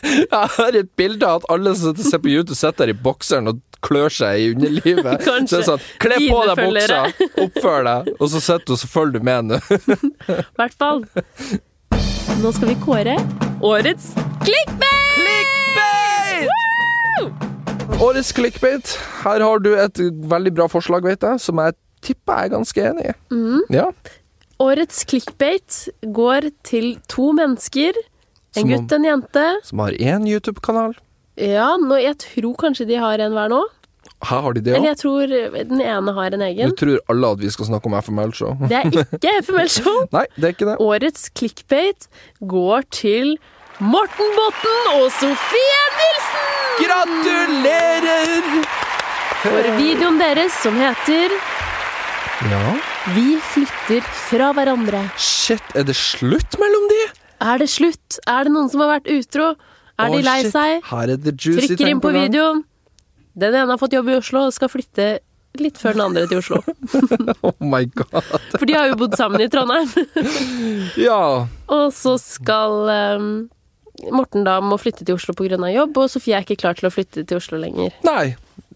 Speaker 2: Jeg har et bilde av at alle som sitter og ser på YouTube, sitter der i bokseren og klør seg i
Speaker 1: [laughs]
Speaker 2: underlivet.
Speaker 1: Kanskje.
Speaker 2: Så det er sånn, Kle på
Speaker 1: Dine
Speaker 2: deg buksa,
Speaker 1: [laughs]
Speaker 2: oppfør deg, og så sitter du og så følger du med nå. [laughs]
Speaker 1: I hvert fall. Nå skal vi kåre årets clickbait!
Speaker 2: Årets clickbait. Her har du et veldig bra forslag, vet jeg, som jeg tipper jeg er ganske enig i.
Speaker 1: Mm.
Speaker 2: Ja.
Speaker 1: Årets clickbait går til to mennesker. En
Speaker 2: Som om-
Speaker 1: gutt og en jente.
Speaker 2: Som har én YouTube-kanal.
Speaker 1: Ja, nå, jeg tror kanskje de har en hver nå.
Speaker 2: Her har de det
Speaker 1: Eller
Speaker 2: òg.
Speaker 1: jeg tror den ene har en
Speaker 2: Nå
Speaker 1: egen.
Speaker 2: tror alle at vi skal snakke om FML Show.
Speaker 1: Det er ikke FML Show.
Speaker 2: [laughs] Nei, det er ikke det.
Speaker 1: Årets clickbait går til Morten Botten og Sofie Nilsen!
Speaker 2: Gratulerer
Speaker 1: for videoen deres som heter
Speaker 2: Ja.
Speaker 1: Vi flytter fra hverandre.
Speaker 2: Shit, er det slutt mellom de?
Speaker 1: Er det slutt? Er det noen som har vært utro? Er de
Speaker 2: Å,
Speaker 1: lei
Speaker 2: shit.
Speaker 1: seg?
Speaker 2: Her er det juicy
Speaker 1: Trykker
Speaker 2: ting
Speaker 1: inn på
Speaker 2: gang.
Speaker 1: videoen. Den ene har fått jobb i Oslo og skal flytte litt før den andre til
Speaker 2: [laughs]
Speaker 1: Oslo.
Speaker 2: [laughs] Oh my god.
Speaker 1: For de har jo bodd sammen i Trondheim. [laughs]
Speaker 2: Ja.
Speaker 1: Og så skal ehm, Morten da må flytte til Oslo pga. jobb, og Sofie er ikke klar til å flytte til Oslo lenger.
Speaker 2: Nei.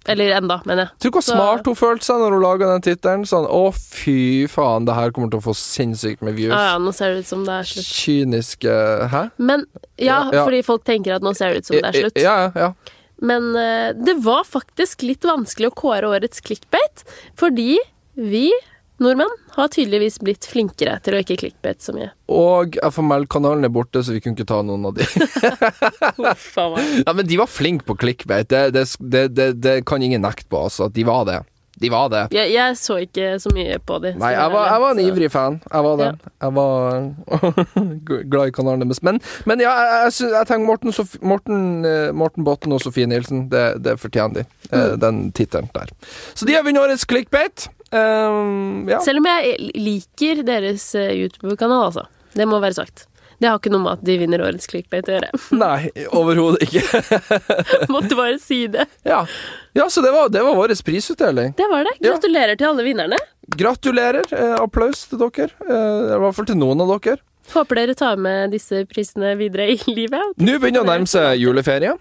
Speaker 1: Eller enda, mener jeg.
Speaker 2: Tror du hvor
Speaker 1: Så-
Speaker 2: smart hun følte seg når hun laga den tittelen? Sånn å, fy faen, det her kommer til å få sinnssykt med views.
Speaker 1: Ja, Ah, ja, nå ser det ut som det er slutt.
Speaker 2: Kyniske Hæ?
Speaker 1: Men ja,
Speaker 2: Ja, ja.
Speaker 1: fordi folk tenker at nå ser det ut som det er slutt.
Speaker 2: Ja, ja. ja.
Speaker 1: Men eh, det var faktisk litt vanskelig å kåre årets clickbait, fordi vi nordmenn har tydeligvis blitt flinkere til å ikke clickbait så mye.
Speaker 2: Og FML-kanalen er borte, så vi kunne ikke ta noen av de.
Speaker 1: [laughs] Uff a meg.
Speaker 2: [laughs] Ja, men de var flinke på clickbait. Det, det, det, det, det kan ingen nekte på, altså. De var det. De var det.
Speaker 1: Jeg, jeg så ikke så mye på de.
Speaker 2: Nei, jeg var, jeg var en
Speaker 1: så-
Speaker 2: ivrig fan. Jeg var det. Jeg var [laughs] glad i kanalen deres. Men, men ja, jeg, jeg, syns- jeg tenker Morten, Sof Morten, eh, Morten Botten og Sofie Nielsen, det, det fortjener de. eh, Den tittelen der. Så de har vunnet årets clickbait. Um, ja.
Speaker 1: Selv om jeg liker deres eh, YouTube-kanal, altså. Det må være sagt. Det har ikke noe med at de vinner årets clickbait å gjøre. [laughs]
Speaker 2: [laughs] Nei, overhodet ikke.
Speaker 1: Måtte bare si det.
Speaker 2: Ja, ja så det var, det var vår prisutdeling.
Speaker 1: Det var det.
Speaker 2: Ja.
Speaker 1: Gratulerer til alle vinnerne.
Speaker 2: Gratulerer. Eh, applaus til dere. Eh, I hvert fall til noen av dere.
Speaker 1: Håper dere tar med disse prisene videre i [laughs] livet.
Speaker 2: Nå begynner det å nærme seg juleferie.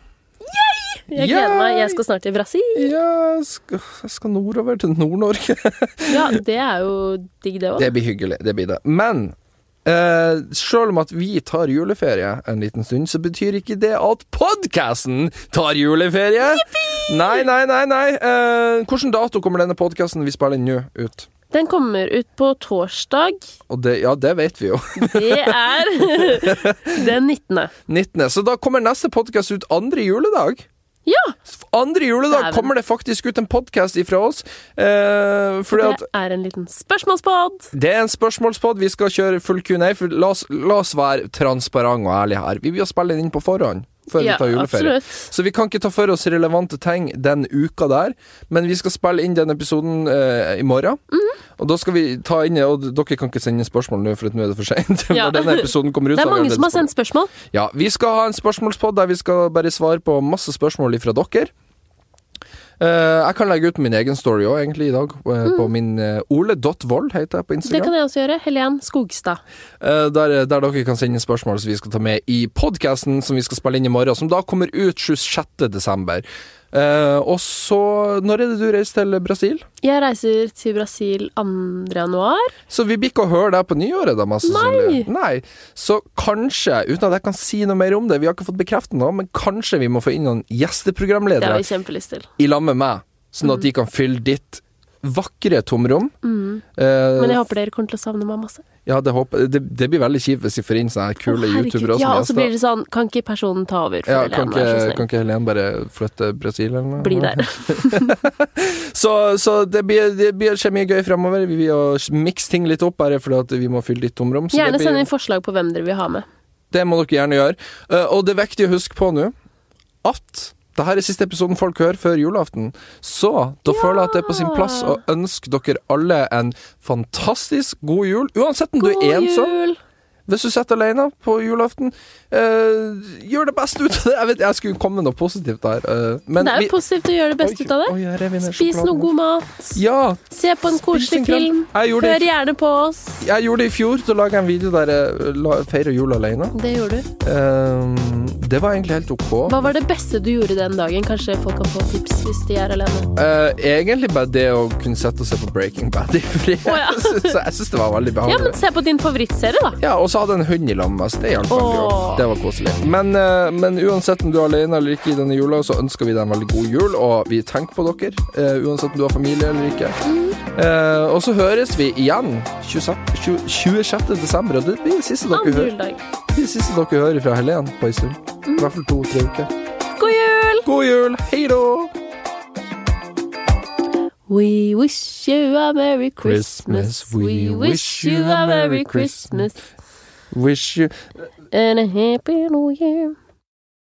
Speaker 1: Jeg gleder
Speaker 2: Yay!
Speaker 1: meg. Jeg skal snart til Brasil.
Speaker 2: Ja, jeg skal, jeg skal nordover til Nord-Norge.
Speaker 1: Ja, det er jo digg, det òg.
Speaker 2: Det blir hyggelig, det blir det. Men eh, selv om at vi tar juleferie en liten stund, så betyr ikke det at podkasten tar juleferie. Nei, nei, nei. nei. Eh, hvilken dato kommer denne podkasten vi spiller inn nå, ut?
Speaker 1: Den kommer ut på torsdag.
Speaker 2: Og det, ja, det vet vi jo. [laughs]
Speaker 1: Det er den 19.
Speaker 2: 19. Så da kommer neste podkast ut andre juledag.
Speaker 1: Ja!
Speaker 2: Andre juledag
Speaker 1: Dæven.
Speaker 2: kommer det faktisk ut en podkast ifra oss. Eh, fordi at
Speaker 1: Det er en liten spørsmålspod.
Speaker 2: Det er en spørsmålspod. Vi skal kjøre full Q&A. For la oss, la oss være transparente og ærlige her. Vi vil jo spille den inn på forhånd før
Speaker 1: Ja,
Speaker 2: vi tar juleferie.
Speaker 1: absolutt.
Speaker 2: Så vi kan ikke ta for oss relevante ting den uka der, men vi skal spille inn den episoden eh, i morgen.
Speaker 1: Mhm.
Speaker 2: Og da skal vi ta inn Og dere kan ikke sende spørsmål nå, for at nå er det for [laughs] seint.
Speaker 1: Ja.
Speaker 2: Når denne episoden kommer ut,
Speaker 1: Det er
Speaker 2: så vi
Speaker 1: mange som har
Speaker 2: allerede
Speaker 1: sendt spørsmål.
Speaker 2: spurt. Ja, vi skal ha en spørsmålspod der vi skal bare svare på masse spørsmål fra dere. Eh, jeg kan legge ut min egen story òg, egentlig, i dag. eh, På min uh, ole.vold, heter jeg på Instagram.
Speaker 1: Mm. Det kan jeg også gjøre. Helen Skogstad.
Speaker 2: Eh, der, der dere kan sende spørsmål som vi skal ta med i podkasten som vi skal spille inn i morgen, som da kommer ut 26. desember. Eh, og så Når er det du reiser til Brasil?
Speaker 1: Jeg reiser til Brasil 2. januar.
Speaker 2: Så vi blir ikke å høre deg på nyåret, da, mest sannsynlig. Nei. Så kanskje, uten at jeg kan si noe mer om det, vi har ikke fått bekreftet noe, men kanskje vi må få inn noen
Speaker 1: Det Mm. har
Speaker 2: gjesteprogramledere
Speaker 1: vi kjempelyst til.
Speaker 2: i lag med meg, sånn at de kan fylle ditt vakre
Speaker 1: Mm.
Speaker 2: tomrom.
Speaker 1: Men
Speaker 2: Eh,
Speaker 1: jeg håper dere kommer til å savne meg masse.
Speaker 2: ja, det, håper, det, det blir veldig kjipt hvis vi får inn sånne her kule
Speaker 1: Å, herregud.
Speaker 2: youtubere
Speaker 1: Ja, og så
Speaker 2: gjester.
Speaker 1: blir det sånn Kan ikke personen ta over? for
Speaker 2: Ja,
Speaker 1: Helen,
Speaker 2: kan
Speaker 1: vær så
Speaker 2: ikke,
Speaker 1: snill?
Speaker 2: kan ikke Helen bare flytte Brasil eller noe?
Speaker 1: Bli
Speaker 2: [laughs]
Speaker 1: der.
Speaker 2: Så, så det, blir, det blir skjer mye gøy fremover. Vi vil jo mikse ting litt opp, bare fordi at vi må fylle litt tomrom. Så
Speaker 1: Gjerne
Speaker 2: det,
Speaker 1: send
Speaker 2: blir,
Speaker 1: inn forslag på hvem dere vil ha med.
Speaker 2: det må dere gjerne gjøre. Eh, og det er viktig å huske på nå at det her er siste episoden folk hører før julaften. Så da føler jeg at det er på sin plass å ønske dere alle en fantastisk god jul. Uansett om du sånn?
Speaker 1: God
Speaker 2: er ensom.
Speaker 1: jul!
Speaker 2: Hvis du sitter alene på julaften, eh, gjør det beste ut av det. Jeg vet, jeg skulle komme med noe positivt der. eh, men
Speaker 1: Det er
Speaker 2: vi-
Speaker 1: jo positivt å gjøre det beste
Speaker 2: Oi,
Speaker 1: ut av det.
Speaker 2: oi, jeg rev inn den
Speaker 1: Spis
Speaker 2: sjokoladen.
Speaker 1: noe god mat.
Speaker 2: Ja,
Speaker 1: Se på en
Speaker 2: spis
Speaker 1: koselig
Speaker 2: en krem.
Speaker 1: film.
Speaker 2: Jeg gjorde,
Speaker 1: Hør
Speaker 2: det,
Speaker 1: gjerne på oss.
Speaker 2: i- jeg gjorde det i fjor. Da laga jeg en video der jeg eh, la, feira jul alene.
Speaker 1: Det gjorde du.
Speaker 2: Ehm, det var egentlig helt ok.
Speaker 1: Hva var det beste du gjorde den dagen? Kanskje folk kan få tips hvis de er alene.
Speaker 2: Eh, egentlig bare det å kunne sette og se på Breaking Bad i fred.
Speaker 1: Å, ja.
Speaker 2: [laughs] Så jeg syns det var
Speaker 1: Ja,
Speaker 2: veldig
Speaker 1: men
Speaker 2: behagelig.
Speaker 1: se på din favorittserie, da.
Speaker 2: Ja, Og så hadde jeg en hund i lag med oss. Det hjalp veldig
Speaker 1: Åh.
Speaker 2: godt. Det var koselig. Men, eh, men uansett om du er alene eller ikke i denne jula, så ønsker vi deg en veldig god jul, og vi tenker på dere. eh, uansett om du har familie eller ikke. Eh, og så høres vi igjen 26, 20 26. desember, og det blir det siste dere
Speaker 1: Andre
Speaker 2: hører.
Speaker 1: juledag.
Speaker 2: Det siste dere hører fra Helen på en stund. I hvert fall to-tre uker.
Speaker 1: God jul!
Speaker 2: God jul! Hei da!
Speaker 1: We wish you a Merry Christmas. We wish you a Merry Christmas
Speaker 2: Wish you
Speaker 1: and a Happy New Year.